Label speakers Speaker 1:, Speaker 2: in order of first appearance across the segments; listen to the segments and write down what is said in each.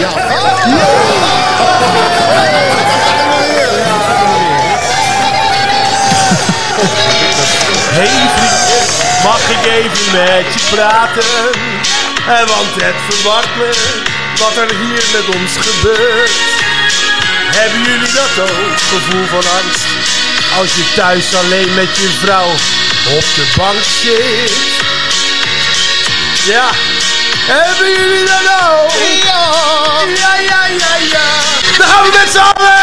Speaker 1: Ja.
Speaker 2: Hey vriend, mag ik even met je praten? Eh, Want het verwart me wat er hier met ons gebeurt. Hebben jullie dat ook, gevoel van angst? Als je thuis alleen met je vrouw op de bank zit. Ja, hebben jullie dat ook? Ja, ja, ja, ja. ja. Dan gaan we met z'n allen!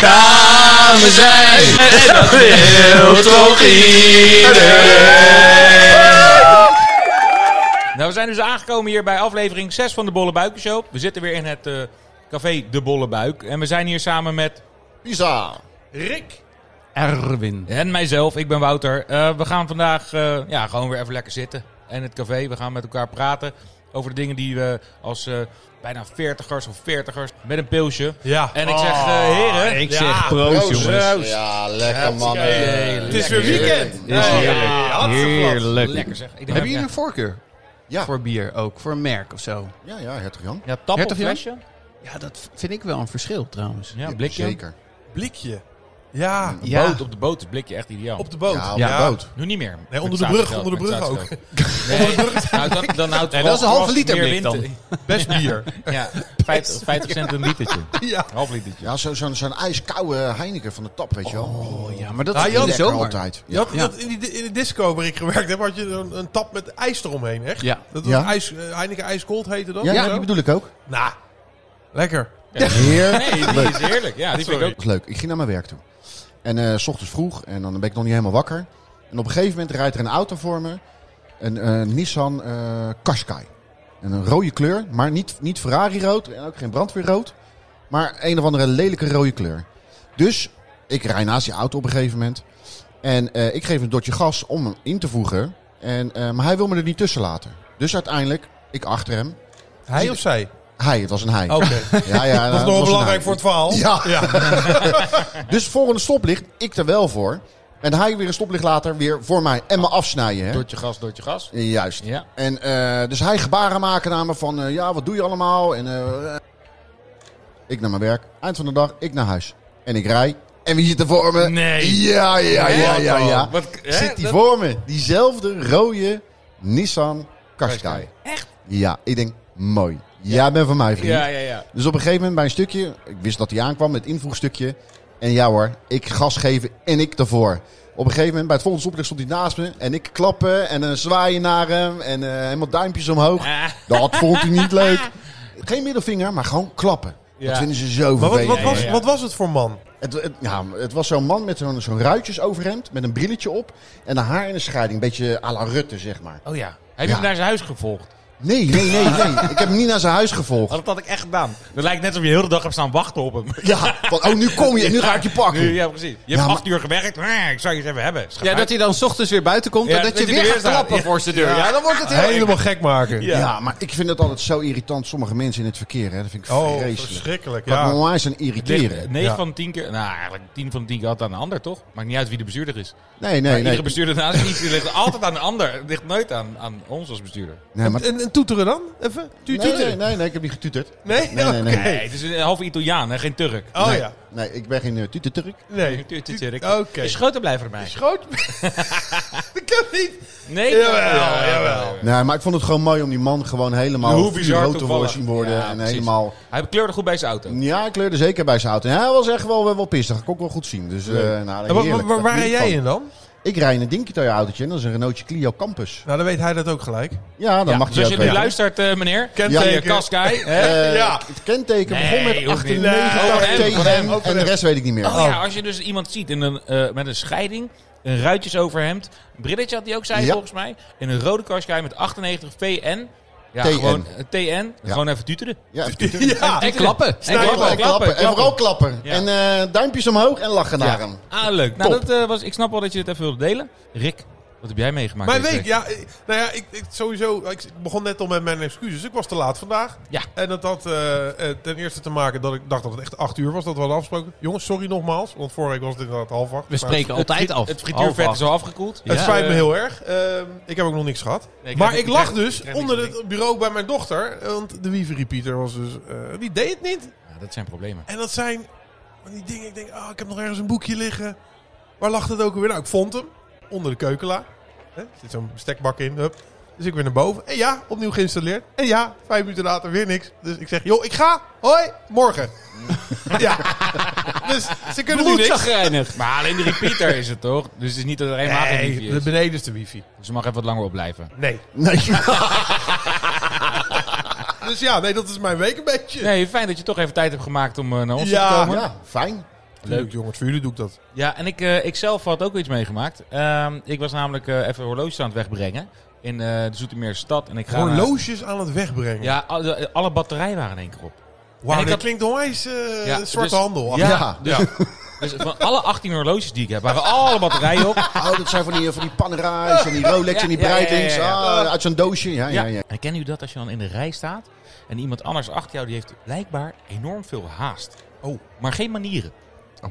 Speaker 3: Samen zijn. En dat wil toch Nou, we zijn dus aangekomen hier bij aflevering 6 van de Bolle Buiken Show. We zitten weer in het eh, café De Bolle Buik. En we zijn hier samen met
Speaker 1: Pisa.
Speaker 2: Rick!
Speaker 4: Erwin.
Speaker 3: En mijzelf, ik ben Wouter. Eh, we gaan vandaag eh, ja, gewoon weer even lekker zitten. En het café, we gaan met elkaar praten over de dingen die we als eh, bijna veertigers of veertigers met een pilsje.
Speaker 2: Ja.
Speaker 3: En ik zeg, eh, heren,
Speaker 4: Oh, Ik
Speaker 2: Ja,
Speaker 4: zeg proost,
Speaker 1: Proost.
Speaker 4: jongens.
Speaker 1: Ja, lekker mannen.
Speaker 2: Het is weer weekend.
Speaker 4: Is
Speaker 2: Ja,
Speaker 4: heerlijk.
Speaker 2: hartstikke plat.
Speaker 4: Heerlijk.
Speaker 3: lekker zeg. Ik denk,
Speaker 4: Hebben
Speaker 3: ja,
Speaker 4: jullie een voorkeur
Speaker 1: Ja,
Speaker 4: voor bier ook? Voor een merk of zo?
Speaker 1: ja, ja, hertog Jan.
Speaker 3: ja, tap of
Speaker 4: Hertog Jan?
Speaker 3: flesje?
Speaker 4: Ja, dat vind ik wel een verschil trouwens.
Speaker 3: Ja, blikje.
Speaker 1: Zeker.
Speaker 2: Blikje. Ja,
Speaker 4: Ja.
Speaker 3: Boot, op de boot is blikje echt ideaal.
Speaker 2: op de boot.
Speaker 1: Ja, op
Speaker 4: Ja.
Speaker 1: de boot.
Speaker 3: Nu niet meer.
Speaker 2: Nee,
Speaker 3: Met
Speaker 2: onder de brug,
Speaker 3: zaterdag,
Speaker 2: onder de
Speaker 3: met
Speaker 2: brug ook.
Speaker 3: zaterdag. Nee, nou, dan, dan houdt
Speaker 4: dat is een halve
Speaker 3: Frost
Speaker 4: liter
Speaker 3: meer
Speaker 4: blik dan.
Speaker 3: winter.
Speaker 2: Best bier.
Speaker 3: Ja, 50, 50 cent een litertje.
Speaker 2: ja.
Speaker 3: Half litertje.
Speaker 1: Ja, zo- zo'n zo'n ijskoude Heineken van de tap, weet je wel.
Speaker 4: Oh ja, maar dat
Speaker 2: Nou,
Speaker 4: is in
Speaker 2: Jan,
Speaker 4: de
Speaker 1: lekker
Speaker 4: zomer.
Speaker 1: altijd.
Speaker 2: Je had,
Speaker 4: Ja.
Speaker 2: dat in, die, in de disco waar ik gewerkt heb, had je een, een tap met ijs eromheen, echt?
Speaker 4: Ja.
Speaker 2: Dat was
Speaker 1: Ja.
Speaker 2: ijs, eh, Heineken IJskold heette dat?
Speaker 1: Ja,
Speaker 2: of
Speaker 1: ja,
Speaker 2: zo?
Speaker 1: die bedoel ik ook.
Speaker 2: Nou, lekker.
Speaker 1: Heer.
Speaker 3: Nee, die is heerlijk. Ja, die vind ik ook.
Speaker 1: Dat is leuk. Ik ging naar mijn werk toe. En eh, s ochtends vroeg. En dan ben ik nog niet helemaal wakker. En op een gegeven moment rijdt er een auto voor me. Een eh, Nissan eh Qashqai. En een rode kleur. Maar niet, niet Ferrari rood. En ook geen brandweerrood. Maar een of andere lelijke rode kleur. Dus ik rij naast die auto op een gegeven moment. En eh, ik geef een dotje gas om hem in te voegen. En, eh, maar hij wil me er niet tussen laten. Dus uiteindelijk, ik achter hem.
Speaker 2: Hij of zij?
Speaker 1: Hij, het was een hij.
Speaker 2: Oké.
Speaker 1: Ja, ja,
Speaker 2: dat is nog wel
Speaker 1: het was een
Speaker 2: belangrijk
Speaker 1: hij.
Speaker 2: voor het verhaal.
Speaker 1: Ja.
Speaker 2: ja.
Speaker 1: Dus volgende stoplicht, ik er wel voor. En hij weer een stoplicht later weer voor mij en me afsnijden. Hè?
Speaker 3: Doortje gas, doortje gas.
Speaker 1: Juist.
Speaker 3: Ja.
Speaker 1: En, eh, dus hij gebaren maken naar me van, eh, ja, wat doe je allemaal? En, eh, ik naar mijn werk. Eind van de dag, ik naar huis. En ik rij. En wie zit er voor me?
Speaker 3: Nee.
Speaker 1: Ja, ja, ja, ja, ja.
Speaker 3: Wat, hè,
Speaker 1: Zit die
Speaker 3: dat-
Speaker 1: voor me? Diezelfde rode Nissan Qashqai.
Speaker 3: Qashqai. Echt?
Speaker 1: Ja, ik denk, mooi. Jij bent van mij, vriend.
Speaker 3: Ja, ja, ja.
Speaker 1: Dus op een gegeven moment bij een stukje, ik wist dat hij aankwam met het invoegstukje. En ja hoor, ik gas geven en ik daarvoor. Op een gegeven moment, bij het volgende stoplicht stond hij naast me. En ik klappen en een zwaaien naar hem en eh, helemaal duimpjes omhoog.
Speaker 3: Ah.
Speaker 1: Dat vond hij niet leuk. Geen middelvinger, maar gewoon klappen.
Speaker 3: Ja.
Speaker 1: Dat vinden ze zo
Speaker 2: Maar wat,
Speaker 1: vervelend.
Speaker 2: wat,
Speaker 3: ja,
Speaker 2: was,
Speaker 3: ja.
Speaker 2: wat was het voor man?
Speaker 1: Het, het, ja, het was zo'n man met zo'n zo'n ruitjes overhemd, met een brilletje op. En een haar in een scheiding, een beetje à la Rutte, zeg maar.
Speaker 3: Oh ja. Heb je hem
Speaker 1: Ja.
Speaker 3: naar zijn huis gevolgd?
Speaker 1: Nee, nee, nee, nee. Ik heb hem niet naar zijn huis gevolgd.
Speaker 3: Dat had ik echt gedaan. Dat lijkt net alsof je de hele dag hebt staan wachten op hem.
Speaker 1: Ja, van, oh, nu kom je, nu ga ik je pakken.
Speaker 3: Ja, precies. Je
Speaker 1: Ja,
Speaker 3: hebt
Speaker 1: maar-
Speaker 3: acht uur gewerkt. Ah, Ik zou je eens even hebben. Schat
Speaker 4: Ja,
Speaker 3: uit.
Speaker 4: dat hij dan 's ochtends weer buiten komt
Speaker 3: Ja,
Speaker 4: en dat, je weer
Speaker 3: er
Speaker 4: gaat klappen
Speaker 3: staat.
Speaker 4: voor zijn deur. Ja, dan wordt het heel
Speaker 2: Helemaal gek maken.
Speaker 3: Ja.
Speaker 1: Ja. maar ik vind het altijd zo irritant, sommige mensen in het verkeer. Hè. Dat vind ik
Speaker 2: Oh,
Speaker 1: vreselijk.
Speaker 2: verschrikkelijk.
Speaker 1: Ja.
Speaker 2: Ja.
Speaker 1: onwijs aan
Speaker 3: Ligt
Speaker 1: irriteren.
Speaker 3: 9
Speaker 2: Ja.
Speaker 3: van de 10 keer, nou eigenlijk 10 van de 10 keer altijd aan een ander, toch? Maakt niet uit wie de bestuurder is.
Speaker 1: Nee, nee, nee.
Speaker 3: Iedere bestuurder naast je die ligt altijd aan een ander. Het ligt nooit aan, aan ons als bestuurder.
Speaker 1: Nee, maar...
Speaker 2: En, en toeteren dan? Even? Tu-
Speaker 1: nee,
Speaker 2: Toeteren?
Speaker 1: nee, nee, nee, ik heb niet getuterd.
Speaker 2: Nee?
Speaker 1: Nee, nee, nee.
Speaker 2: Oké.
Speaker 3: Nee, het is een half Italiaan en geen Turk.
Speaker 2: Oh
Speaker 1: Nee,
Speaker 2: ja.
Speaker 1: Nee, ik ben geen uh, tuterturk.
Speaker 2: Nee.
Speaker 3: Tu- tu- Turk.
Speaker 2: Oké.
Speaker 3: Is groter blijven voor mij.
Speaker 2: Schoot? dat kan niet.
Speaker 3: Nee.
Speaker 2: Jawel, jawel.
Speaker 1: Nee, maar ik vond het gewoon mooi om die man gewoon helemaal
Speaker 3: Hoe bizar
Speaker 1: rood te
Speaker 3: toevallig.
Speaker 1: zien worden.
Speaker 3: Ja,
Speaker 1: en
Speaker 3: precies.
Speaker 1: helemaal...
Speaker 3: Hij kleurde goed bij zijn auto.
Speaker 1: Ja, ik kleurde zeker bij zijn auto. En hij was echt wel, wel, wel pissig. Dat kon ik wel goed zien. Dus, eh nou,
Speaker 2: En wa- wa-
Speaker 1: heerlijk.
Speaker 2: waar
Speaker 1: Daar
Speaker 2: waar rij
Speaker 1: geniet ik
Speaker 2: jij
Speaker 1: van.
Speaker 2: in dan?
Speaker 1: Ik rij in een Dinky autootje. En dat is een Renaultje Clio Campus.
Speaker 2: Nou, dan weet hij dat ook gelijk.
Speaker 1: Ja, dan
Speaker 3: Ja,
Speaker 1: mag
Speaker 3: dus
Speaker 1: je
Speaker 3: als
Speaker 1: ook
Speaker 3: je nu
Speaker 1: weten.
Speaker 3: luistert, eh, meneer.
Speaker 2: Kenteken.
Speaker 3: eh, Kaskai. hè?
Speaker 1: Eh,
Speaker 2: Ja.
Speaker 1: Het kenteken begon
Speaker 3: Nee,
Speaker 1: met
Speaker 3: hoeft niet.
Speaker 1: 98
Speaker 3: Nee, over hem,
Speaker 1: tegen
Speaker 3: over hem,
Speaker 1: hem,
Speaker 2: over
Speaker 1: en de
Speaker 2: hem.
Speaker 1: rest weet ik niet meer.
Speaker 3: Oh ja, als je dus iemand ziet in een, eh, met een scheiding, een ruitjes overhemd, een brilletje had hij ook, zei hij
Speaker 1: Ja.
Speaker 3: volgens mij, in een rode Kaskai met 98 VN. Ja,
Speaker 1: TN.
Speaker 3: gewoon eh, TN.
Speaker 1: Ja.
Speaker 3: Gewoon even tuteren.
Speaker 1: Ja,
Speaker 2: Ja.
Speaker 4: En klappen.
Speaker 3: En klappen,
Speaker 1: klappen, klappen. En vooral klappen.
Speaker 3: Ja.
Speaker 1: En eh, duimpjes omhoog en lachen naar hem.
Speaker 3: Ah, leuk. Nou,
Speaker 1: Top.
Speaker 3: dat, eh, was, ik snap wel dat je dit even wilde delen. Rick, Wat heb jij meegemaakt?
Speaker 5: Mijn
Speaker 3: deze
Speaker 5: week, ja. ik- Nou ja, ik, ik sowieso. Ik ik begon net al met mijn excuses. Ik was te laat vandaag.
Speaker 3: Ja.
Speaker 5: En dat had eh, eh, ten eerste te maken dat ik dacht dat het echt acht uur was. Dat we hadden afgesproken. Jongens, sorry nogmaals. Want vorige week was het inderdaad half acht.
Speaker 4: We spreken
Speaker 3: Het
Speaker 4: altijd
Speaker 3: friet-
Speaker 4: af.
Speaker 3: Het
Speaker 4: Half
Speaker 3: frituurvet
Speaker 4: acht.
Speaker 3: is al afgekoeld.
Speaker 5: Het
Speaker 4: Ja.
Speaker 5: spijt me
Speaker 3: Eh,
Speaker 5: heel erg. Ehm, ik heb ook nog niks gehad.
Speaker 3: Nee, ik
Speaker 5: maar
Speaker 3: krijg-
Speaker 5: ik
Speaker 3: ik
Speaker 5: lag
Speaker 3: krijg-
Speaker 5: dus
Speaker 3: ik krijg
Speaker 5: onder
Speaker 3: niks
Speaker 5: het bureau bij mijn dochter. Want de wifi repeater was dus... eh, die deed het niet.
Speaker 3: ja, dat zijn problemen.
Speaker 5: En dat zijn van die dingen. Ik denk, ah, ik heb nog ergens een boekje liggen. Waar lag dat ook weer? Nou, ik vond hem. Onder de keukenla. Hè, Er zit zo'n stekbak in. Hup. Dus ik weer naar boven. En ja, opnieuw geïnstalleerd. En ja, vijf minuten later weer niks. Dus ik zeg, joh, ik ga. Hoi, morgen. ja. Dus ze kunnen nu niks.
Speaker 4: Bloedzagrijnig.
Speaker 3: Maar alleen de repeater is het toch? Dus het is niet dat er helemaal geen wifi
Speaker 5: Nee,
Speaker 3: is.
Speaker 5: beneden is de wifi.
Speaker 3: Dus je mag even wat langer opblijven.
Speaker 5: Nee.
Speaker 1: Nee.
Speaker 5: Dus ja, nee, dat is mijn week een beetje.
Speaker 3: Nee, fijn dat je toch even tijd hebt gemaakt om eh, naar ons
Speaker 5: Ja.
Speaker 3: te komen.
Speaker 1: ja, fijn.
Speaker 5: Leuk, jongens. Voor jullie doe ik dat.
Speaker 3: Ja, en ik, eh, ik zelf had ook weer iets meegemaakt. Ehm, ik was namelijk eh, even horloges aan het wegbrengen in eh, de Zoetermeerse stad. En ik ga naar-
Speaker 5: Horloges aan het wegbrengen.
Speaker 3: ja, alle, alle batterijen waren in één keer op.
Speaker 5: Wauw,
Speaker 3: En ik
Speaker 5: dat
Speaker 3: had-
Speaker 5: klinkt onwijs eh,
Speaker 3: Ja,
Speaker 5: zwarte
Speaker 3: dus-
Speaker 5: handel.
Speaker 1: Ja.
Speaker 3: Dus, dus van alle 18 horloges die ik heb, waren alle batterijen op.
Speaker 1: Oh, dat zijn van die, van die Panerais en die Rolex en die
Speaker 3: Ja, ja, ja, ja,
Speaker 1: Breitings.
Speaker 3: ja.
Speaker 1: Ah, uit zo'n doosje. Ja, ja, ja.
Speaker 3: En kennen u dat als je dan in de rij staat en iemand anders achter jou die heeft blijkbaar enorm veel haast.
Speaker 5: Oh.
Speaker 3: Maar geen manieren.
Speaker 1: Oh.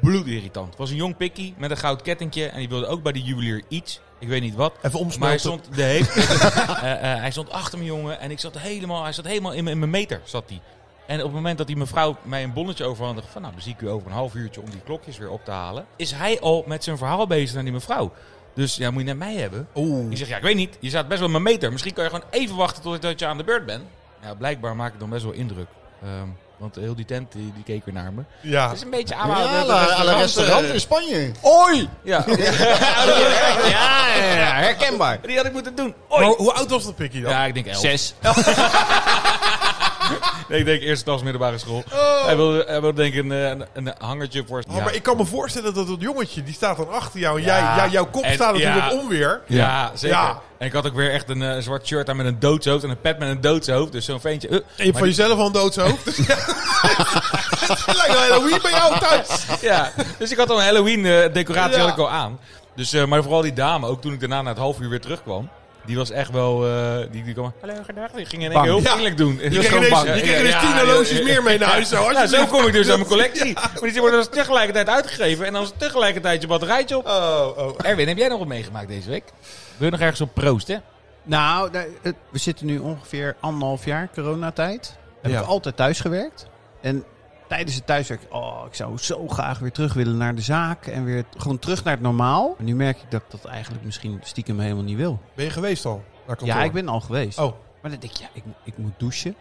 Speaker 3: Bloedirritant. Het was een jong pikkie met een goud kettingje en die wilde ook bij de juwelier iets. Ik weet niet wat.
Speaker 5: Even
Speaker 3: Maar hij
Speaker 5: omsmelten.
Speaker 3: stond, de hele- Eh, eh, hij stond achter me, jongen. En ik zat helemaal, hij zat helemaal in, mijn- in mijn meter. Zat die. En op het moment dat die mevrouw mij een bonnetje overhandigde... van nou, dan zie ik u over een half uurtje om die klokjes weer op te halen... is hij al met zijn verhaal bezig naar die mevrouw. Dus ja, moet je net mij hebben.
Speaker 5: Oeh.
Speaker 3: Ik zeg, ja, ik weet niet. Je staat best wel in mijn meter. Misschien kan je gewoon even wachten totdat je aan de beurt bent. Ja, blijkbaar maak ik dan best wel indruk. Ehm, want heel die tent, die, die keek weer naar me.
Speaker 5: Ja.
Speaker 3: Het is een beetje
Speaker 1: Ja,
Speaker 3: aanhouden.
Speaker 1: à la- à la restaurant in Spanje.
Speaker 3: Oh.
Speaker 5: Oei!
Speaker 3: Ja. Ja, ja, ja, herkenbaar. Die had ik moeten doen. Oei.
Speaker 5: Maar hoe- hoe oud was dat pikkie dan?
Speaker 3: Ja, ik denk elf.
Speaker 4: Zes.
Speaker 3: Nee, ik denk eerste klas middelbare school.
Speaker 5: Oh.
Speaker 3: Hij wilde, hij wilde denk ik een, eh, een, een hangertje voor...
Speaker 5: Oh, maar ik kan me voorstellen dat dat jongetje, die staat dan achter jou. En
Speaker 3: Ja.
Speaker 5: jij, jij, jouw kop
Speaker 3: En-
Speaker 5: staat natuurlijk
Speaker 3: ja.
Speaker 5: op onweer.
Speaker 3: ja, zeker.
Speaker 5: Ja.
Speaker 3: En ik had ook weer echt een eh, zwart shirt aan met een doodshoofd en een pet met een doodshoofd. Dus zo'n ventje... eh.
Speaker 5: En je hebt
Speaker 3: Maar
Speaker 5: van jezelf al een doodshoofd. Dus ja. Het lijkt wel Halloween bij jou thuis.
Speaker 3: die- ja, dus ik had al een Halloween-decoratie
Speaker 5: Ja.
Speaker 3: had ik al aan. Dus, eh, maar vooral die dame, ook toen ik daarna na het half uur weer terugkwam... Die was echt wel... eh, die, die kwam... Hallo, gedag. Die ging in één
Speaker 4: Bang.
Speaker 3: keer heel
Speaker 5: Ja.
Speaker 3: vriendelijk doen.
Speaker 5: Je kreeg ineens, je kreeg ineens tien horloges meer mee naar huis. Zo,
Speaker 3: Ja,
Speaker 5: alsjeblieft.
Speaker 3: zo kom ik dus aan mijn collectie. Maar die worden dus tegelijkertijd uitgegeven. En dan is tegelijkertijd je batterijtje op.
Speaker 5: Oh, oh.
Speaker 3: Erwin, heb jij nog wat meegemaakt deze week? Wil je nog ergens op proosten?
Speaker 4: Nou, nou, het- we zitten nu ongeveer anderhalf jaar coronatijd. Heb
Speaker 5: Ja.
Speaker 4: ik altijd thuis gewerkt. En tijdens het thuiswerk, oh, ik zou zo graag weer terug willen naar de zaak. En weer t- gewoon terug naar het normaal. En nu merk ik dat ik dat eigenlijk misschien stiekem helemaal niet wil.
Speaker 5: Ben je geweest al? Naar kantoor?
Speaker 4: Ja, ik ben al geweest.
Speaker 5: Oh,
Speaker 4: Maar dan denk ik, ja, ik, mo- ik moet douchen.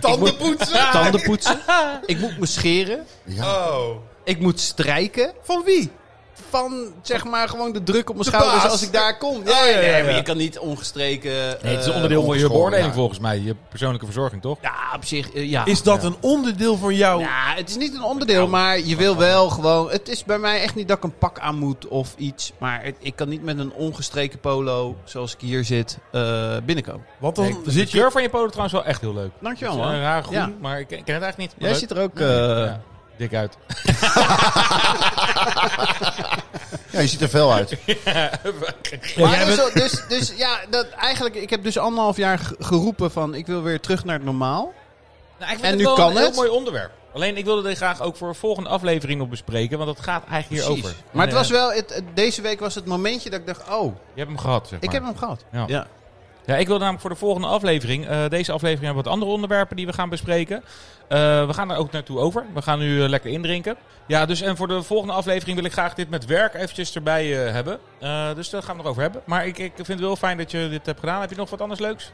Speaker 5: tanden poetsen?
Speaker 4: Tanden poetsen. ik moet me scheren.
Speaker 1: Ja.
Speaker 5: Oh.
Speaker 4: Ik moet strijken.
Speaker 5: Van wie?
Speaker 4: Van, zeg maar, gewoon de druk op mijn
Speaker 5: De
Speaker 4: schouders
Speaker 5: baas. Oh,
Speaker 4: als ik daar kom.
Speaker 5: ja, ja, ja.
Speaker 4: Nee, maar je kan niet ongestreken...
Speaker 3: Nee, het is
Speaker 4: eh,
Speaker 3: onderdeel van je
Speaker 1: ongeschoren,
Speaker 3: beoordeling
Speaker 1: ja.
Speaker 3: volgens mij. Je persoonlijke verzorging, toch?
Speaker 4: Ja, op zich, eh, ja.
Speaker 5: Is dat een onderdeel van jou?
Speaker 4: Ja, het is niet een onderdeel, maar je wil wel gewoon... Het is bij mij echt niet dat ik een pak aan moet of iets. Maar het- ik kan niet met een ongestreken polo, zoals ik hier zit, eh, binnenkomen.
Speaker 5: Want dan
Speaker 3: Nee, ik vind
Speaker 5: zit
Speaker 3: de
Speaker 5: je...
Speaker 3: kleur van je polo trouwens wel echt heel leuk.
Speaker 4: Dankjewel,
Speaker 5: eh,
Speaker 3: Het is Een
Speaker 4: man.
Speaker 3: raar groen,
Speaker 4: Ja.
Speaker 3: maar ik ken ik ken het eigenlijk niet. maar
Speaker 4: Jij
Speaker 3: leuk.
Speaker 4: ziet er ook... eh,
Speaker 3: Ja, dik uit.
Speaker 1: ja, je ziet er fel uit.
Speaker 3: nou,
Speaker 4: Maar dus, dus, dus ja, dat, eigenlijk, ik heb dus anderhalf jaar ge- geroepen van ik wil weer terug naar het normaal.
Speaker 3: Nou, ik vind
Speaker 4: En
Speaker 3: het
Speaker 4: nu
Speaker 3: wel
Speaker 4: kan
Speaker 3: een heel
Speaker 4: het?
Speaker 3: mooi onderwerp. Alleen, ik wilde dit graag ook voor een volgende aflevering nog bespreken, want dat gaat eigenlijk
Speaker 4: Precies.
Speaker 3: hierover.
Speaker 4: Maar het
Speaker 3: En,
Speaker 4: was
Speaker 3: eh,
Speaker 4: wel, het, het- deze week was het momentje dat ik dacht, oh,
Speaker 3: Je hebt hem gehad, zeg maar.
Speaker 4: ik heb hem gehad.
Speaker 3: Ja.
Speaker 4: Ja.
Speaker 3: Ja, ik wil namelijk voor de volgende aflevering. eh, deze aflevering hebben we wat andere onderwerpen die we gaan bespreken. Eh, we gaan er ook naartoe over. We gaan nu eh, lekker indrinken. Ja, dus en voor de volgende aflevering wil ik graag dit met werk eventjes erbij eh, hebben. Eh, dus daar gaan we het over hebben. Maar ik, ik vind het wel fijn dat je dit hebt gedaan. Heb je nog wat anders leuks?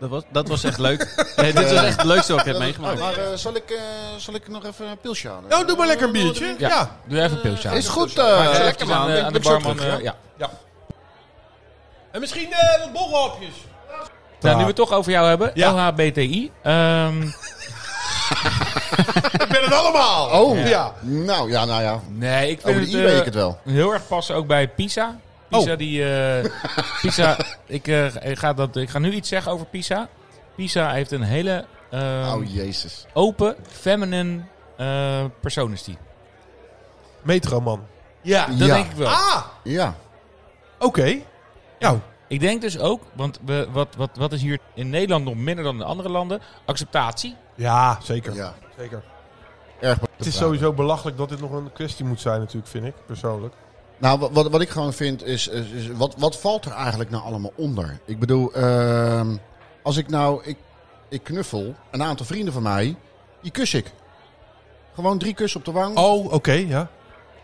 Speaker 4: Dat, was, dat was echt leuk. Nee, dit was echt het leukste wat ik heb meegemaakt.
Speaker 1: Maar eh, zal, ik, eh, zal ik nog even een pilsje halen?
Speaker 5: Nou, doe maar lekker een biertje.
Speaker 3: Ja.
Speaker 5: Ja.
Speaker 3: Doe even een pilsje aan.
Speaker 1: Is goed.
Speaker 3: Maar ik
Speaker 1: eh,
Speaker 3: zal
Speaker 1: lekker.
Speaker 3: eventjes aan, de-
Speaker 1: Ik
Speaker 3: aan de
Speaker 1: ben zo
Speaker 3: barman.
Speaker 1: terug,
Speaker 3: eh, ja.
Speaker 5: En misschien eh, wat borrelhapjes.
Speaker 3: Nou, nu we het toch over jou hebben.
Speaker 5: Ja.
Speaker 3: LHBTI. Ehm,
Speaker 5: Ik ben het allemaal.
Speaker 1: Oh,
Speaker 5: Ja.
Speaker 1: ja. Nou, ja, nou ja.
Speaker 3: nee, ik vind
Speaker 1: Over
Speaker 3: het,
Speaker 1: de i weet
Speaker 3: eh,
Speaker 1: ik het wel.
Speaker 3: heel erg passen ook bij Pisa. Pisa die. eh, Pisa, ik, eh, ik ga dat, ik ga nu iets zeggen over Pisa. Pisa heeft een hele eh,
Speaker 1: Oh, jezus.
Speaker 3: open, feminine eh persoon is die.
Speaker 5: Metroman.
Speaker 3: Ja, dat
Speaker 1: Ja.
Speaker 3: denk ik wel.
Speaker 5: Ah,
Speaker 1: Ja.
Speaker 5: oké. Nou,
Speaker 3: Ik denk dus ook, want we, wat, wat, wat is hier in Nederland nog minder dan in andere landen? Acceptatie.
Speaker 5: ja, zeker.
Speaker 1: ja.
Speaker 5: zeker.
Speaker 1: Erg be-
Speaker 5: Het is sowieso belachelijk dat dit nog een kwestie moet zijn natuurlijk, vind ik, persoonlijk.
Speaker 1: Nou, wa- wat, wat ik gewoon vind is, is, is wat, wat valt er eigenlijk nou allemaal onder? Ik bedoel, ehm, als ik nou, ik, ik knuffel een aantal vrienden van mij, die kus ik. Gewoon drie kussen op de wang.
Speaker 5: Oh, oké, ja.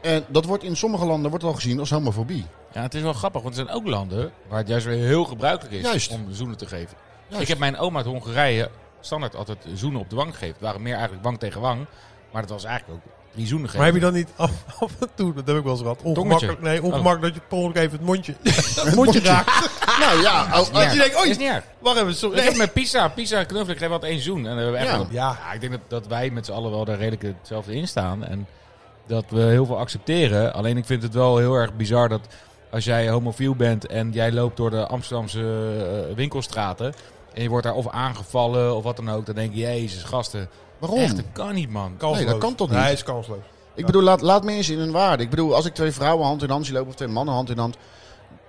Speaker 1: En dat wordt in sommige landen wordt al gezien als homofobie.
Speaker 3: Ja, het is wel grappig, want er zijn ook landen waar het juist weer heel gebruikelijk is
Speaker 1: Juist.
Speaker 3: om zoenen te geven.
Speaker 1: Juist.
Speaker 3: Ik heb mijn oma uit Hongarije standaard altijd zoenen op de wang gegeven. Het waren meer eigenlijk wang tegen wang, maar dat was eigenlijk ook drie zoenen geven.
Speaker 5: Maar heb je dan niet af, af en toe, dat heb ik wel eens gehad, ongemakkelijk,
Speaker 3: Oh.
Speaker 5: nee, ongemakkelijk dat je per ongeluk even het mondje, het mondje raakt.
Speaker 1: Nou ja, oh,
Speaker 3: Ja.
Speaker 5: Dat je denkt,
Speaker 3: Is
Speaker 5: oei,
Speaker 3: niet erg.
Speaker 5: wacht even, sorry.
Speaker 3: Ik heb met Pisa, Pisa knuffel, ik geef altijd één zoen. En dan hebben we echt
Speaker 1: Ja.
Speaker 3: wel-
Speaker 5: Ja.
Speaker 3: Ja, ik denk dat, dat wij met z'n allen wel daar redelijk hetzelfde in staan. En dat we heel veel accepteren. Alleen ik vind het wel heel erg bizar dat als jij homofiel bent en jij loopt door de Amsterdamse eh, winkelstraten. En je wordt daar of aangevallen of wat dan ook. Dan denk je, jezus gasten,
Speaker 1: waarom?
Speaker 3: echt dat kan niet man.
Speaker 5: Kansloos.
Speaker 1: Nee, dat kan toch niet?
Speaker 5: Nee, is kansloos.
Speaker 1: Ik bedoel, laat, laat mensen in hun waarde. Ik bedoel, als ik twee vrouwen hand in hand zie lopen of twee mannen hand in hand.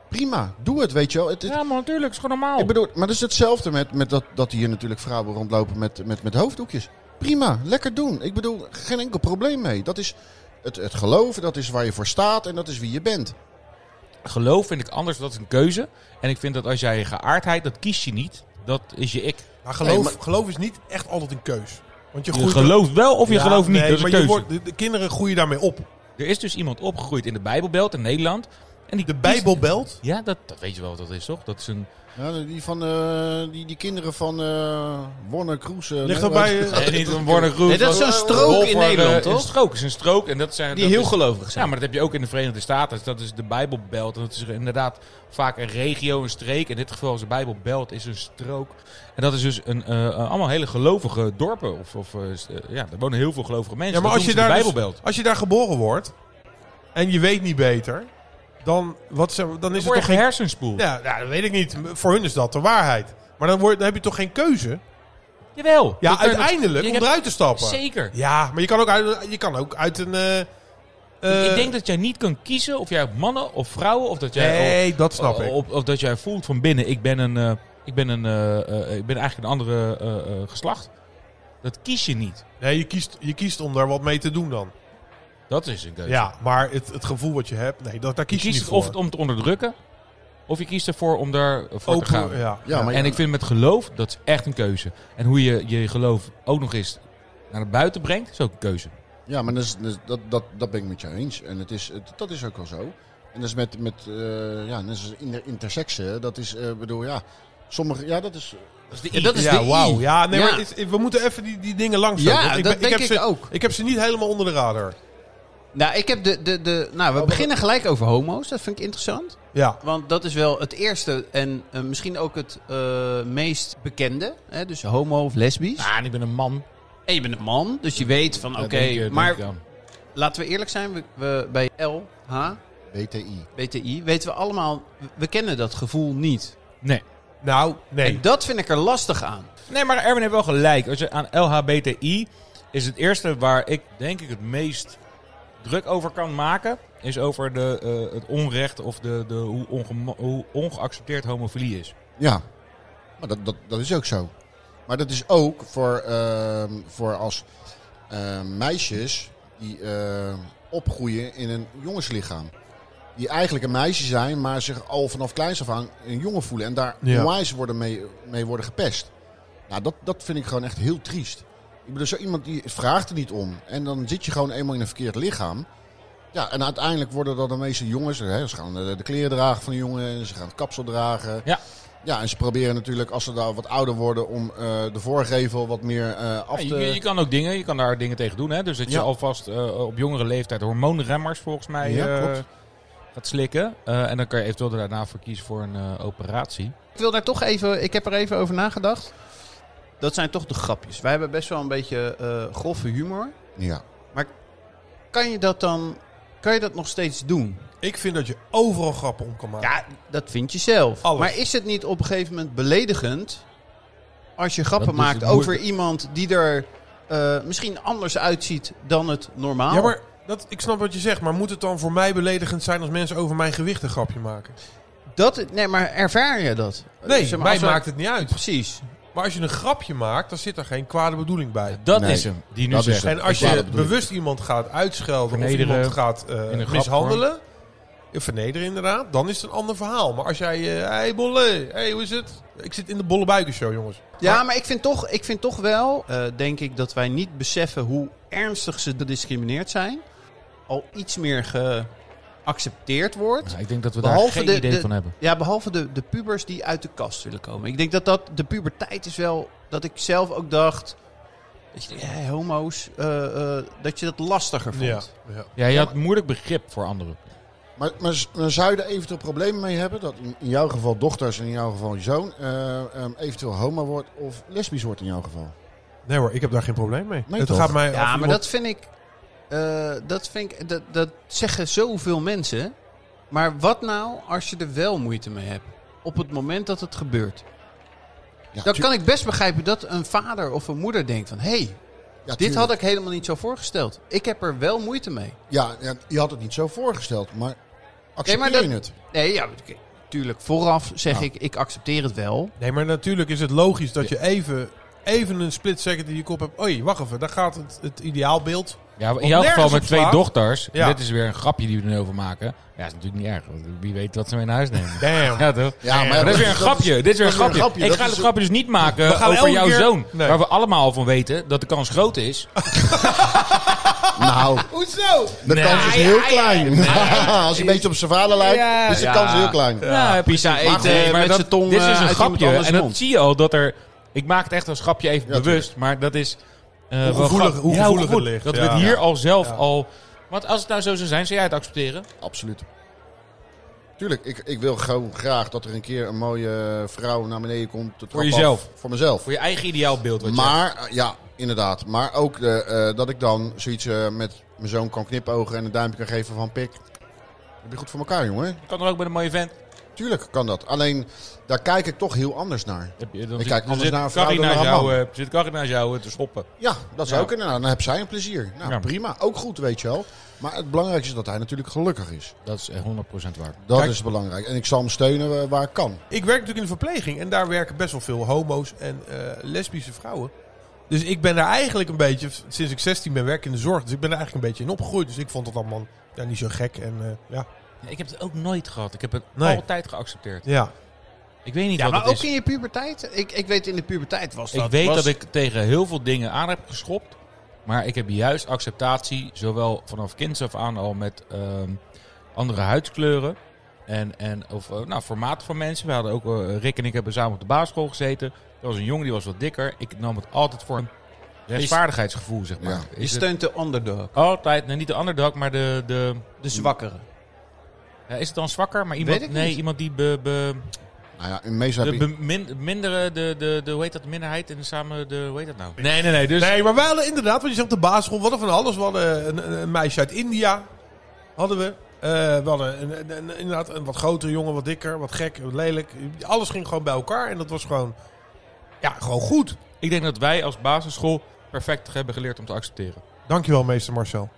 Speaker 1: Prima, doe het, weet je wel. Het, het-
Speaker 3: Ja man, natuurlijk, is gewoon
Speaker 5: Oh.
Speaker 3: normaal.
Speaker 1: Ik bedoel, maar dat is hetzelfde met, met dat, dat hier natuurlijk vrouwen rondlopen met, met, met hoofddoekjes. Prima, lekker doen. Ik bedoel, geen enkel probleem mee. Dat is het, het geloven, dat is waar je voor staat en dat is wie je bent.
Speaker 3: Geloof vind ik anders, dat is een keuze. En ik vind dat als jij je geaardheid, dat kies je niet. Dat is je ik.
Speaker 5: Maar geloof,
Speaker 1: Nee, maar-
Speaker 5: geloof is niet echt altijd een keus. Want je,
Speaker 3: Je
Speaker 5: groeit-
Speaker 3: gelooft wel of je
Speaker 5: Ja,
Speaker 3: gelooft niet.
Speaker 5: nee,
Speaker 3: dat is een
Speaker 5: maar
Speaker 3: keuze.
Speaker 5: Je wordt, de, de kinderen groeien daarmee op.
Speaker 3: Er is dus iemand opgegroeid in de Bijbelbelt in Nederland. En die
Speaker 5: De Bijbel belt.
Speaker 3: Ja, dat, dat weet je wel wat dat is, toch? Dat is een...
Speaker 1: Ja, die, van, eh, die, die kinderen van eh Warner Kroes. eh,
Speaker 5: Ligt
Speaker 1: nee,
Speaker 5: dat bij...
Speaker 1: wat-
Speaker 5: eh,
Speaker 3: niet een Warnergroep.
Speaker 4: Nee, dat is zo'n strook in Nederland,
Speaker 3: Een
Speaker 4: toch?
Speaker 3: strook is een strook. En dat zijn,
Speaker 4: Die
Speaker 3: dat
Speaker 4: heel
Speaker 3: is-
Speaker 4: gelovig
Speaker 3: Ja,
Speaker 4: zijn.
Speaker 3: maar dat heb je ook in de Verenigde Staten. Dat is de Bijbelbelt. En dat is inderdaad vaak een regio, een streek. In dit geval is de Bijbelbelt is een strook. En dat is dus een, eh, eh, allemaal hele gelovige dorpen. Of, of, eh, s- eh, ja, er wonen heel veel gelovige mensen.
Speaker 5: Ja, maar
Speaker 3: Dat
Speaker 5: als je,
Speaker 3: doen ze
Speaker 5: daar
Speaker 3: in de
Speaker 5: dus-
Speaker 3: Bijbelbelt.
Speaker 5: als je daar geboren wordt en je weet niet beter, dan, wat, zeg- dan
Speaker 3: Dan
Speaker 5: is het
Speaker 3: word je
Speaker 5: toch geen...
Speaker 3: hersenspoel.
Speaker 5: Ja, ja, dat weet ik niet. Voor hun is dat de waarheid. Maar dan, word, dan heb je toch geen keuze?
Speaker 3: Jawel.
Speaker 5: Ja,
Speaker 3: Dat- dat-
Speaker 5: uiteindelijk
Speaker 3: je
Speaker 5: om
Speaker 3: hebt-
Speaker 5: eruit te stappen.
Speaker 3: Zeker.
Speaker 5: Ja, maar je kan ook uit, je kan ook uit een... eh, eh,
Speaker 3: ik denk dat jij niet kan kiezen of jij op mannen of vrouwen of dat jij
Speaker 5: Nee, dat snap ik.
Speaker 3: Of, of dat jij voelt van binnen, ik ben, een, eh, ik ben, een, eh, eh, ik ben eigenlijk een andere eh, eh, geslacht. Dat kies je niet.
Speaker 5: Nee, je kiest, je kiest om daar wat mee te doen dan.
Speaker 3: Dat is een keuze.
Speaker 5: Ja, maar het, het gevoel wat je hebt, nee, dat, daar
Speaker 3: je
Speaker 5: kies je,
Speaker 3: kiest
Speaker 5: niet
Speaker 3: of
Speaker 5: voor.
Speaker 3: het om te onderdrukken, of je kiest ervoor om daar eh, voor te gaan.
Speaker 5: Open, ja.
Speaker 1: Ja, maar
Speaker 3: En ik vind met geloof, dat is echt een keuze. En hoe je je geloof ook nog eens naar buiten brengt, is ook een keuze.
Speaker 1: Ja, maar dat, is- dat, is- dat, dat, dat ben ik met je eens. En het is, het- dat is ook wel zo. En dat is met, met eh, ja, net zoals inter- intersexen. Dat is, eh, bedoel, ja, sommige, ja, dat is... eh,
Speaker 4: Ja, dat is
Speaker 5: ja,
Speaker 4: de I.
Speaker 5: wauw. Ja, nee,
Speaker 4: Ja.
Speaker 5: maar het is- we moeten even die, die dingen langs
Speaker 4: Ja,
Speaker 5: doen, want
Speaker 4: dat
Speaker 5: ben-
Speaker 4: denk
Speaker 5: heb
Speaker 4: ik
Speaker 5: ze,
Speaker 4: ook.
Speaker 5: Ik heb ze niet helemaal onder de radar.
Speaker 4: Nou, ik heb de, de, de, nou we
Speaker 5: wat-
Speaker 4: beginnen gelijk over homo's. Dat vind ik interessant.
Speaker 5: Ja.
Speaker 4: Want dat is wel het eerste en eh, misschien ook het eh, meest bekende. Hè? Dus homo of lesbisch.
Speaker 3: Ah, en ik ben een man.
Speaker 4: En je bent een man, dus je weet van oké.
Speaker 3: Dat denk je- denk
Speaker 4: maar
Speaker 3: ik dan.
Speaker 4: laten we eerlijk zijn, we, we, bij LH,
Speaker 1: BTI.
Speaker 4: BTI, weten we allemaal, we kennen dat gevoel niet.
Speaker 3: Nee.
Speaker 5: Nou, nee.
Speaker 4: En dat vind ik er lastig aan.
Speaker 3: Nee, maar Erwin heeft wel gelijk. Als je aan LHBTI is het eerste waar ik denk ik het meest druk over kan maken, is over de, eh, het onrecht of de, de, hoe, ongema- hoe ongeaccepteerd homofilie is.
Speaker 1: Ja, maar dat, dat, dat is ook zo. Maar dat is ook voor, ehm, voor als ehm, meisjes die ehm, opgroeien in een jongenslichaam. Die eigenlijk een meisje zijn, maar zich al vanaf kleins af aan een jongen voelen. En daar
Speaker 5: Ja.
Speaker 1: onwijs worden mee, mee worden gepest. Nou, dat, dat vind ik gewoon echt heel triest. Ik bedoel, zo iemand die vraagt er niet om. En dan zit je gewoon eenmaal in een verkeerd lichaam. Ja, en uiteindelijk worden dat de meeste jongens... Hè, ze gaan de, de kleren dragen van de jongen. En ze gaan het kapsel dragen.
Speaker 3: Ja.
Speaker 1: Ja, en ze proberen natuurlijk als ze daar wat ouder worden om eh, de voorgevel wat meer eh, af
Speaker 3: Ja,
Speaker 1: te...
Speaker 3: je, je kan ook dingen, je kan daar dingen tegen doen. Hè? Dus dat je
Speaker 1: Ja.
Speaker 3: alvast eh, op jongere leeftijd hormoonremmers volgens mij
Speaker 1: Ja,
Speaker 3: eh,
Speaker 1: klopt.
Speaker 3: gaat slikken. Eh, en dan kan je eventueel daarna voor kiezen voor een eh, operatie.
Speaker 4: Ik wil daar toch even, ik heb er even over nagedacht. Dat zijn toch de grapjes. Wij hebben best wel een beetje eh grove humor.
Speaker 1: Ja.
Speaker 4: Kan je dat dan, kan je dat nog steeds doen?
Speaker 5: Ik vind dat je overal grappen om kan maken.
Speaker 4: Ja, dat vind je zelf.
Speaker 5: Oh. Alles.
Speaker 4: Maar is het niet op een gegeven moment beledigend als je grappen
Speaker 3: Dat is
Speaker 4: maakt
Speaker 3: het moeilijk.
Speaker 4: over iemand die er eh, misschien anders uitziet dan het normaal?
Speaker 5: Ja, maar dat, ik snap wat je zegt, maar moet het dan voor mij beledigend zijn als mensen over mijn gewicht een grapje maken?
Speaker 4: Dat, nee, maar ervaar je dat?
Speaker 5: Nee,
Speaker 4: Zeg maar,
Speaker 5: mij
Speaker 4: als we-
Speaker 5: maakt het niet uit.
Speaker 4: Precies.
Speaker 5: Maar als je een grapje maakt, dan zit er geen kwade bedoeling bij.
Speaker 3: Dat
Speaker 1: Nee,
Speaker 3: is hem, die nu
Speaker 1: dat is
Speaker 3: zegt.
Speaker 1: hem.
Speaker 5: En als
Speaker 1: een kwade
Speaker 5: je
Speaker 1: bedoeling.
Speaker 5: bewust iemand gaat uitschelden of
Speaker 3: Vernederen.
Speaker 5: iemand gaat eh,
Speaker 3: In een grap
Speaker 5: mishandelen, eh, vernederen inderdaad, dan is het een ander verhaal. Maar als jij, eh, hey bolle, hey hoe is het? Ik zit in de bolle buikenshow jongens.
Speaker 4: Ja, maar ik vind toch, ik vind toch wel, eh, denk ik, dat wij niet beseffen hoe ernstig ze gediscrimineerd zijn. Al iets meer geaccepteerd wordt.
Speaker 3: Ja, ik denk dat we
Speaker 4: Behalve
Speaker 3: daar geen
Speaker 4: de-
Speaker 3: idee
Speaker 4: de-
Speaker 3: van hebben.
Speaker 4: Ja, behalve de, de pubers die uit de kast willen komen. Ik denk dat dat de puberteit is wel dat ik zelf ook dacht. Dat je denkt, hé, homo's, eh, eh, dat je dat lastiger vond.
Speaker 5: Ja, ja.
Speaker 3: Ja, je had moeilijk begrip voor anderen.
Speaker 1: Maar, maar, z- maar zou je er eventueel problemen mee hebben? Dat in in jouw geval dochters en in jouw geval je zoon eh, ehm, eventueel homo wordt of lesbisch wordt in jouw geval?
Speaker 5: Nee hoor, ik heb daar geen probleem mee.
Speaker 1: Nee,
Speaker 5: het
Speaker 1: toch?
Speaker 5: gaat mij
Speaker 4: Ja, maar dat vind ik. eh, dat, vind ik dat, dat zeggen zoveel mensen. Maar wat nou als je er wel moeite mee hebt? Op het moment dat het gebeurt.
Speaker 1: Ja,
Speaker 4: Dan
Speaker 1: tu-
Speaker 4: kan ik best begrijpen dat een vader of een moeder denkt van... hé, hey,
Speaker 1: ja,
Speaker 4: dit
Speaker 1: tuurlijk.
Speaker 4: had ik helemaal niet zo voorgesteld. Ik heb er wel moeite mee.
Speaker 1: Ja, ja, je had het niet zo voorgesteld, maar accepteer
Speaker 4: Nee, maar
Speaker 1: je
Speaker 4: dat-
Speaker 1: het?
Speaker 4: Nee, ja, ik- tuurlijk. Vooraf zeg
Speaker 1: Ja.
Speaker 4: ik, ik accepteer het wel.
Speaker 5: Nee, maar natuurlijk is het logisch dat je even, even een split second in je kop hebt. Oei, wacht even, daar gaat het, het ideaalbeeld.
Speaker 3: Ja, in
Speaker 5: Om
Speaker 3: jouw geval
Speaker 5: nergens
Speaker 3: met
Speaker 5: op
Speaker 3: twee
Speaker 5: slaat.
Speaker 3: dochters.
Speaker 5: Ja.
Speaker 3: Dit is weer een grapje die we er nu over maken. Ja, is natuurlijk niet erg. want Wie weet wat ze mee naar huis nemen.
Speaker 5: Damn.
Speaker 3: Ja, toch?
Speaker 1: Ja, maar
Speaker 3: Maar dat is weer een grapje. dit
Speaker 1: dat is
Speaker 3: is weer een
Speaker 1: weer
Speaker 3: grapje.
Speaker 1: een grapje.
Speaker 3: Ik
Speaker 1: Dat
Speaker 3: ga
Speaker 1: is
Speaker 3: het
Speaker 1: een-
Speaker 3: grapje dus niet maken
Speaker 5: gaan
Speaker 3: over
Speaker 5: elke
Speaker 3: jouw
Speaker 5: keer-
Speaker 3: zoon.
Speaker 5: Nee.
Speaker 3: Waar we allemaal van weten dat de kans groot is.
Speaker 1: Nou,
Speaker 5: Hoezo?
Speaker 1: de
Speaker 3: Nee.
Speaker 1: kans is heel klein. Als je een beetje op savale lijkt,
Speaker 3: Ja.
Speaker 1: is de
Speaker 4: Ja.
Speaker 1: kans heel klein.
Speaker 3: Ja, Nou, pizza
Speaker 4: precies. Maar goed, met zijn tong,
Speaker 3: Dit
Speaker 4: eh,
Speaker 3: is een
Speaker 4: uit
Speaker 3: grapje.
Speaker 4: iemand anders
Speaker 3: En dat
Speaker 4: mond.
Speaker 3: zie je al dat er... Ik maak het echt als grapje even
Speaker 1: Ja,
Speaker 3: bewust. Maar dat is... eh, wel
Speaker 5: gevoelig-
Speaker 3: grappig.
Speaker 5: hoe
Speaker 3: Ja,
Speaker 5: gevoelig het
Speaker 3: gevoelig.
Speaker 5: ligt.
Speaker 3: Dat we
Speaker 5: Ja.
Speaker 3: het hier al zelf
Speaker 5: Ja.
Speaker 3: al... Want als het nou zo zou zijn, zou jij het accepteren?
Speaker 1: Absoluut. Tuurlijk, ik, ik wil gewoon graag dat er een keer een mooie vrouw naar beneden komt. de trap af.
Speaker 3: jezelf.
Speaker 1: voor mezelf.
Speaker 3: Voor je eigen ideaalbeeld. Wat je hebt.
Speaker 1: Maar, eh, ja, inderdaad. Maar ook eh, eh, dat ik dan zoiets eh, met mijn zoon kan knipogen en een duimpje kan geven van pik. Heb je goed voor elkaar, jongen?
Speaker 3: Je kan er ook met een mooie vent.
Speaker 1: Tuurlijk kan dat. Alleen, daar kijk ik toch heel anders naar.
Speaker 3: Heb je- Dan
Speaker 1: Ik
Speaker 3: zit-
Speaker 1: kijk
Speaker 3: dan
Speaker 1: anders
Speaker 3: zit
Speaker 1: naar een vrouw
Speaker 3: Carrie
Speaker 1: dan naar een
Speaker 3: jou,
Speaker 1: man.
Speaker 3: eh, Zit Carrie naar jou eh, te schoppen.
Speaker 1: Ja, dat is
Speaker 3: Ja.
Speaker 1: ook inderdaad. Dan heb zij een plezier. Nou,
Speaker 3: Ja.
Speaker 1: prima. Ook goed, weet je wel. Maar het belangrijkste is dat hij natuurlijk gelukkig is.
Speaker 3: Dat is 100% waar.
Speaker 1: Dat
Speaker 5: Kijk-
Speaker 1: is belangrijk. En ik zal hem steunen eh, waar ik kan.
Speaker 5: Ik werk natuurlijk in de verpleging en daar werken best wel veel homo's en eh, lesbische vrouwen. Dus ik ben daar eigenlijk een beetje, sinds ik 16 ben, werk ik in de zorg. Dus ik ben daar eigenlijk een beetje in opgegroeid. Dus ik vond dat allemaal ja, niet zo gek. En, eh, ja.
Speaker 3: Ik heb het ook nooit gehad. Ik heb het
Speaker 5: Nee.
Speaker 3: altijd geaccepteerd.
Speaker 5: Ja.
Speaker 3: Ik weet niet
Speaker 4: Ja,
Speaker 3: wat
Speaker 4: maar
Speaker 3: het
Speaker 4: ook
Speaker 3: is.
Speaker 4: in je puberteit. Ik, ik weet in de puberteit was dat.
Speaker 3: Ik weet
Speaker 4: was-
Speaker 3: dat ik tegen heel veel dingen aan heb geschopt. Maar ik heb juist acceptatie, zowel vanaf kinds af aan al met ehm, andere huidskleuren. En, en of, eh, nou, formaat van mensen. We hadden ook, eh, Rick en ik hebben samen op de basisschool gezeten. Er was een jongen die was wat dikker. Ik nam het altijd voor een rechtvaardigheidsgevoel, zeg maar.
Speaker 1: Ja.
Speaker 4: Je
Speaker 3: Is het Mm.
Speaker 4: steunt de underdog.
Speaker 3: altijd, nee, niet de underdog, maar de... de
Speaker 4: De zwakkere.
Speaker 3: ja, is het dan zwakker? Maar iemand,
Speaker 4: Weet ik
Speaker 3: nee,
Speaker 4: niet.
Speaker 3: iemand die be, be-
Speaker 1: Nou ja, in meestal heb
Speaker 3: de
Speaker 1: ik...
Speaker 3: be- min- mindere, de, de, de, hoe heet dat, de minderheid en samen de, hoe heet dat nou? Nee, nee, nee. Dus
Speaker 5: Nee, maar we hadden inderdaad, want je zegt op de basisschool, we hadden van alles. We hadden een, een- een meisje uit India, hadden we. Eh, we hadden een, een- een- inderdaad een wat grotere jongen, wat dikker, wat gek, wat lelijk. Alles ging gewoon bij elkaar en dat was gewoon, ja, gewoon goed.
Speaker 3: Ik denk dat wij als basisschool perfect hebben geleerd om te accepteren.
Speaker 5: Dankjewel, meester Marcel.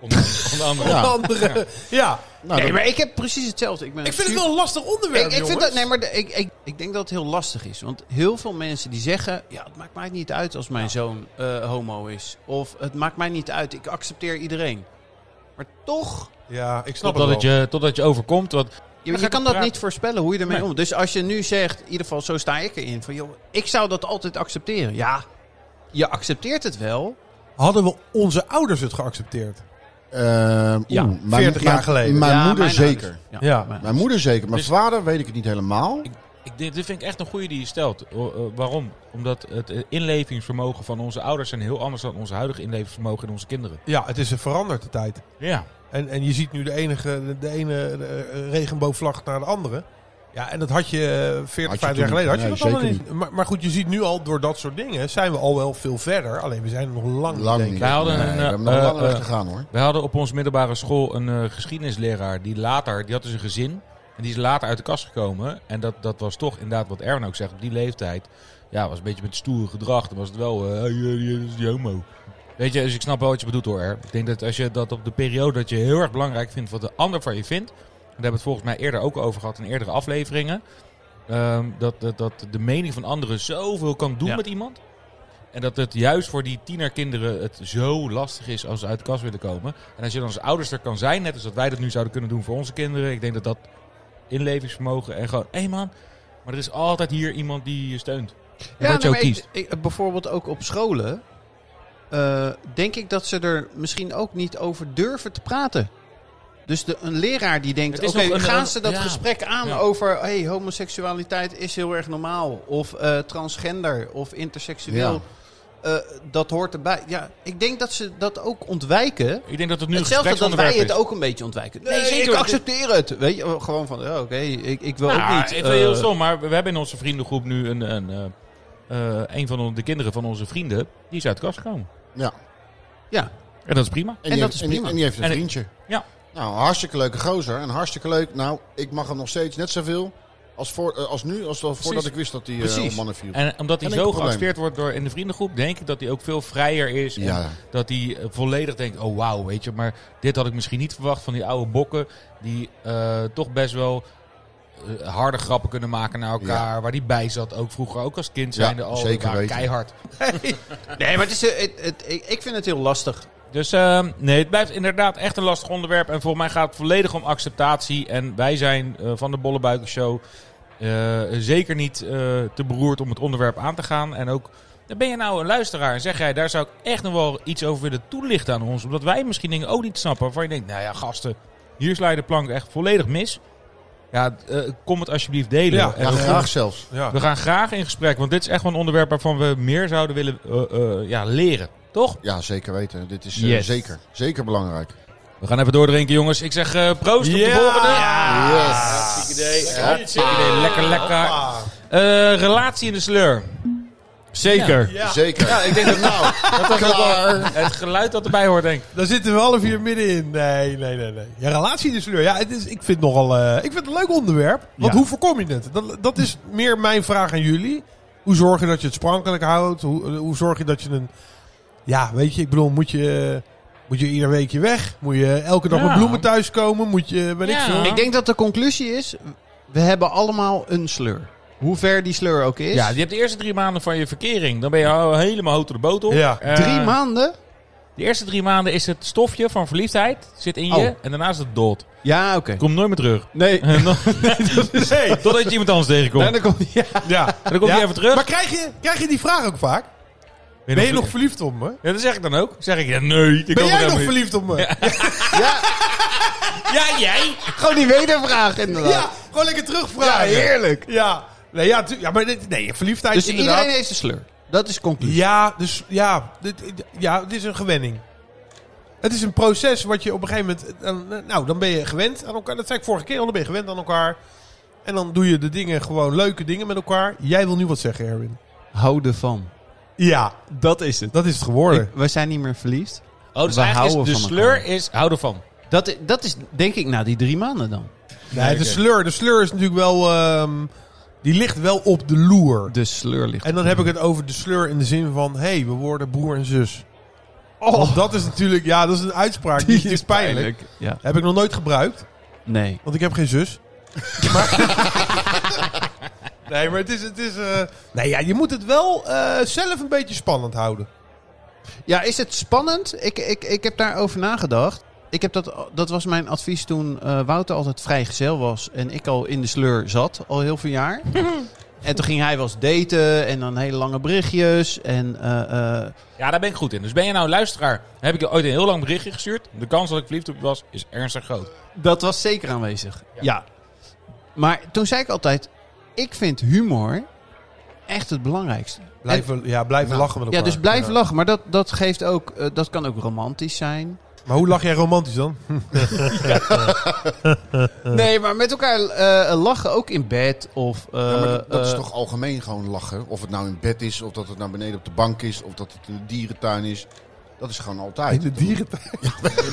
Speaker 3: Onder, onder andere.
Speaker 1: Ja.
Speaker 5: Onder andere, ja.
Speaker 1: Nou,
Speaker 4: nee,
Speaker 1: dat-
Speaker 4: maar ik heb precies hetzelfde. Ik, ben
Speaker 5: Ik vind
Speaker 4: super-
Speaker 5: het wel een lastig onderwerp,
Speaker 4: Ik, ik, vind
Speaker 5: jongens.
Speaker 4: dat, nee, maar de- ik, ik, ik denk dat het heel lastig is. Want heel veel mensen die zeggen... Ja, het maakt mij niet uit als mijn zoon eh, homo is. Of het maakt mij niet uit, ik accepteer iedereen. Maar toch...
Speaker 5: Ja, ik snap
Speaker 3: Totdat,
Speaker 5: het
Speaker 3: het
Speaker 5: wel.
Speaker 3: je, totdat je overkomt. Want
Speaker 4: Je,
Speaker 3: Dan
Speaker 4: je
Speaker 3: ga ik
Speaker 4: kan dat
Speaker 3: praten.
Speaker 4: niet voorspellen hoe je ermee
Speaker 3: Nee.
Speaker 4: om. Dus als je nu zegt, in ieder geval zo sta ik erin. Van joh, ik zou dat altijd accepteren. Ja, je accepteert het wel.
Speaker 5: Hadden we onze ouders het geaccepteerd?
Speaker 1: Ehm,
Speaker 4: Ja,
Speaker 1: oeh, mijn-
Speaker 5: 40 jaar
Speaker 1: mijn-
Speaker 5: geleden.
Speaker 1: Mijn
Speaker 4: Ja,
Speaker 1: moeder
Speaker 4: mijn ouders.
Speaker 1: zeker.
Speaker 4: Ja.
Speaker 5: Ja.
Speaker 4: maar-
Speaker 1: Mijn moeder zeker. Mijn
Speaker 3: Dus-
Speaker 1: vader weet ik het niet helemaal.
Speaker 3: ik, denk- dit vind ik echt een goede die je stelt. O- eh, waarom? Omdat het eh, inlevingsvermogen van onze ouders zijn heel anders dan ons huidige inlevingsvermogen in onze kinderen.
Speaker 5: Ja, het is een veranderde tijd.
Speaker 3: Ja.
Speaker 5: En, en je ziet nu de, enige, de, de ene eh, regenboogvlag naar de andere. Ja, en dat had je eh, 40,
Speaker 1: Had je
Speaker 5: 50 jaar
Speaker 1: toen
Speaker 5: geleden. Had je
Speaker 1: niet.
Speaker 5: dat allemaal
Speaker 1: Nee,
Speaker 5: niet. Maar, maar goed, je ziet nu al door dat soort dingen zijn we al wel veel verder. Alleen we zijn er nog lang,
Speaker 1: Lang
Speaker 5: denk ik.
Speaker 1: niet.
Speaker 3: Wij hadden
Speaker 1: Nee,
Speaker 3: een,
Speaker 1: we
Speaker 3: eh,
Speaker 1: hebben nog
Speaker 3: eh,
Speaker 1: langer
Speaker 3: eh,
Speaker 1: weg gegaan hoor.
Speaker 3: We hadden op onze middelbare school een eh, geschiedenisleraar die later, die had dus een gezin. En die is later uit de kast gekomen. En dat, dat was toch inderdaad wat Erwin ook zegt. Op die leeftijd ja, was een beetje met stoere gedrag. Dan was het wel, eh, hey, eh, die is die homo. Weet je, dus ik snap wel wat je bedoelt hoor. Er. Ik denk dat als je dat op de periode dat je heel erg belangrijk vindt wat de ander van je vindt. Daar hebben we het volgens mij eerder ook over gehad in eerdere afleveringen. ehm, dat, dat, dat de mening van anderen zoveel kan doen
Speaker 4: Ja.
Speaker 3: met iemand. En dat het juist voor die tienerkinderen het zo lastig is als ze uit de kast willen komen. En als je dan als ouders er kan zijn, net als dat wij dat nu zouden kunnen doen voor onze kinderen. Ik denk dat dat inlevingsvermogen en gewoon, hé man, maar er is altijd hier iemand die je steunt. En wat je
Speaker 4: nee,
Speaker 3: ook
Speaker 4: maar ik-
Speaker 3: kiest.
Speaker 4: ik- eh, bijvoorbeeld ook op scholen. eh, denk ik dat ze er misschien ook niet over durven te praten. Dus de, een leraar die denkt,
Speaker 3: Het is
Speaker 4: oké,
Speaker 3: nog een-
Speaker 4: gaan ze dat
Speaker 3: ja.
Speaker 4: gesprek aan
Speaker 3: Ja.
Speaker 4: over... hey, homoseksualiteit is heel erg normaal. Of eh, transgender, of interseksueel.
Speaker 1: Ja.
Speaker 4: Eh, dat hoort erbij. Ja, ik denk dat ze dat ook ontwijken.
Speaker 3: Ik denk dat het nu
Speaker 4: Hetzelfde
Speaker 3: een
Speaker 4: dat wij
Speaker 3: gespreksonderwerp
Speaker 4: het
Speaker 3: is.
Speaker 4: ook een beetje ontwijken. Nee,
Speaker 3: Nee, zeker.
Speaker 4: ik accepteer het. Weet je, eh, gewoon van, ja, oké, ik, ik wil
Speaker 3: Nou,
Speaker 4: ook
Speaker 3: Ik
Speaker 4: niet.
Speaker 3: vind het heel
Speaker 4: eh,
Speaker 3: stom, maar we hebben in onze vriendengroep nu een, een, eh, eh, een van de kinderen van onze vrienden. Die is uit de kast gekomen.
Speaker 1: Ja.
Speaker 4: ja,
Speaker 3: En dat is prima.
Speaker 1: En,
Speaker 4: dat
Speaker 1: die heeft,
Speaker 4: is
Speaker 1: en die-
Speaker 4: prima.
Speaker 1: en die heeft een
Speaker 3: En ik-
Speaker 1: vriendje.
Speaker 3: Ja.
Speaker 1: Nou, een hartstikke leuke gozer. En hartstikke leuk. Nou, ik mag hem nog steeds net zoveel als, voor, eh, als nu, als wel voordat ik wist dat hij eh
Speaker 4: Precies.
Speaker 1: om mannen viel.
Speaker 3: En omdat hij
Speaker 1: Geen enkel
Speaker 3: zo
Speaker 1: probleem.
Speaker 3: geaccepteerd wordt door in de vriendengroep, denk ik dat hij ook veel vrijer is.
Speaker 1: Ja.
Speaker 3: En dat hij eh, volledig denkt, oh wauw, weet je. Maar dit had ik misschien niet verwacht van die oude bokken. Die eh, toch best wel eh, harde grappen kunnen maken naar elkaar. Waar die bij zat, ook vroeger, ook als kind
Speaker 1: Ja,
Speaker 3: zijnde al.
Speaker 1: zeker
Speaker 3: die waren
Speaker 1: weten.
Speaker 3: Keihard.
Speaker 4: Nee, maar het is, eh, het, het- ik ik vind het heel lastig.
Speaker 3: Dus ehm, nee, het blijft inderdaad echt een lastig onderwerp. En volgens mij gaat het volledig om acceptatie. En wij zijn eh, van de Bollebuiken Show eh, zeker niet eh, te beroerd om het onderwerp aan te gaan. En ook, ben je nou een luisteraar en zeg jij, daar zou ik echt nog wel iets over willen toelichten aan ons. Omdat wij misschien dingen ook niet snappen waarvan je denkt, nou ja gasten, hier sla je de plank echt volledig mis. Ja, eh, kom het alsjeblieft delen.
Speaker 2: Ja,
Speaker 3: En
Speaker 1: ja,
Speaker 3: we gaan-
Speaker 1: graag zelfs.
Speaker 2: Ja.
Speaker 3: we gaan graag in gesprek, want dit is echt wel een onderwerp waarvan we meer zouden willen eh, eh, ja, leren. Toch?
Speaker 1: Ja, zeker weten. Dit is eh,
Speaker 3: Yes.
Speaker 1: zeker, zeker belangrijk.
Speaker 3: We gaan even doordrinken, jongens. Ik zeg eh, proost op de
Speaker 2: Ja!
Speaker 3: volgende.
Speaker 1: Yes.
Speaker 3: Lekker, Lekker, lekker. Eh, relatie in de sleur.
Speaker 5: Zeker.
Speaker 1: Zeker. Ja, ik denk dat nou. dat klaar.
Speaker 3: Het geluid dat erbij hoort, denk ik.
Speaker 5: Daar zitten we half uur middenin. Nee, nee, nee. nee. Ja, relatie is sleur. Ja, het is, ik vind het nogal. eh, ik vind het een leuk onderwerp. Want
Speaker 4: Ja.
Speaker 5: hoe voorkom je het? Dat, dat is meer mijn vraag aan jullie. Hoe zorg je dat je het sprankelijk houdt? Hoe, eh, hoe zorg je dat je een. Ja, weet je, ik bedoel, moet je. eh, Moet je ieder weekje weg? Moet je elke dag
Speaker 3: Ja.
Speaker 5: met bloemen thuiskomen? Moet je. Weet
Speaker 3: Ja.
Speaker 5: ik veel.
Speaker 3: Ik
Speaker 4: Ik denk dat de conclusie is, we hebben allemaal een sleur. Hoe ver die sleur ook is.
Speaker 3: Ja, je hebt de eerste drie maanden van je verkering. Dan ben je al helemaal hout door de botel.
Speaker 5: Ja.
Speaker 3: Eh,
Speaker 4: Drie maanden?
Speaker 3: De eerste drie maanden is het stofje van verliefdheid. Zit in je.
Speaker 4: Oh.
Speaker 3: En daarna is het dood.
Speaker 4: Ja, oké.
Speaker 3: Komt nooit meer terug.
Speaker 4: Nee.
Speaker 3: Eh, nog- Totdat je iemand anders tegenkomt.
Speaker 4: Dan kom, ja.
Speaker 5: Ja.
Speaker 3: En dan komt hij
Speaker 5: Ja.
Speaker 3: even terug.
Speaker 5: Maar krijg je, krijg je die vraag ook vaak? Ben je nog verliefd op me?
Speaker 3: Ja, dat zeg ik dan ook. Zeg ik, ja, nee. ik
Speaker 5: Ben
Speaker 3: kan
Speaker 5: jij nog
Speaker 3: helemaal niet.
Speaker 5: verliefd op me?
Speaker 3: Ja, jij.
Speaker 4: Gewoon die wedervraag inderdaad.
Speaker 5: Ja, gewoon lekker terugvragen.
Speaker 4: Ja, heerlijk.
Speaker 5: Ja, nee, ja, tu- ja maar dit- nee, verliefdheid
Speaker 4: Dus
Speaker 5: inderdaad.
Speaker 4: iedereen heeft een sleur. Dat is de conclusie.
Speaker 5: Ja, dus ja, dit, ja, het is een gewenning. Het is een proces wat je op een gegeven moment... eh, eh, Nou, dan ben je gewend aan elkaar. Dat zei ik vorige keer al, dan ben je gewend aan elkaar. En dan doe je de dingen gewoon leuke dingen met elkaar. Jij wil nu wat zeggen, Erwin.
Speaker 4: Houden van.
Speaker 5: Ja,
Speaker 4: Dat is het.
Speaker 5: dat is het geworden.
Speaker 4: We zijn niet meer verliefd.
Speaker 3: Oh, dus
Speaker 4: We
Speaker 3: eigenlijk is
Speaker 4: houden
Speaker 3: de
Speaker 4: van
Speaker 3: sleur
Speaker 4: elkaar.
Speaker 3: is houden van.
Speaker 4: Dat, i- dat is denk ik na die drie maanden dan.
Speaker 5: Nee, de sleur, de sleur is natuurlijk wel... ehm, die ligt wel op de loer.
Speaker 4: De sleur ligt.
Speaker 5: En dan heb ik het over de sleur in de zin van... Hé, hey, we worden broer en zus. Want dat is natuurlijk... Ja, dat is een uitspraak. Die, is pijnlijk.
Speaker 4: Ja.
Speaker 5: Heb ik nog nooit gebruikt.
Speaker 4: Nee.
Speaker 5: Want ik heb geen zus. maar, nee, maar het is... Het is eh, nee, ja, je moet het wel eh, zelf een beetje spannend houden.
Speaker 4: Ja, is het spannend? Ik, ik, ik heb daarover nagedacht. Ik heb dat, dat was mijn advies toen eh, Wouter altijd vrijgezel was en ik al in de sleur zat, al heel veel jaar. en toen ging hij wel eens daten en dan hele lange berichtjes. En eh, eh,
Speaker 3: Ja, daar ben ik goed in. Dus ben je nou een luisteraar? Heb ik je ooit een heel lang berichtje gestuurd? De kans dat ik verliefd op je was, is ernstig groot.
Speaker 4: dat was zeker aanwezig. Ja. Maar toen zei ik altijd, ik vind humor echt het belangrijkste.
Speaker 5: Blijven, ja, blijven
Speaker 4: Nou,
Speaker 5: lachen met
Speaker 4: Ja,
Speaker 5: elkaar.
Speaker 4: dus blijf
Speaker 5: Ja.
Speaker 4: lachen. Maar dat, dat, geeft ook, eh, dat kan ook romantisch zijn.
Speaker 5: Maar hoe lach jij romantisch dan?
Speaker 4: Nee, maar met elkaar eh, lachen ook in bed of. eh,
Speaker 1: Ja, maar dat, dat is
Speaker 4: eh,
Speaker 1: toch algemeen gewoon lachen. Of het nou in bed is, of dat het nou beneden op de bank is, of dat het in de dierentuin is. Dat is gewoon altijd.
Speaker 5: de dieren...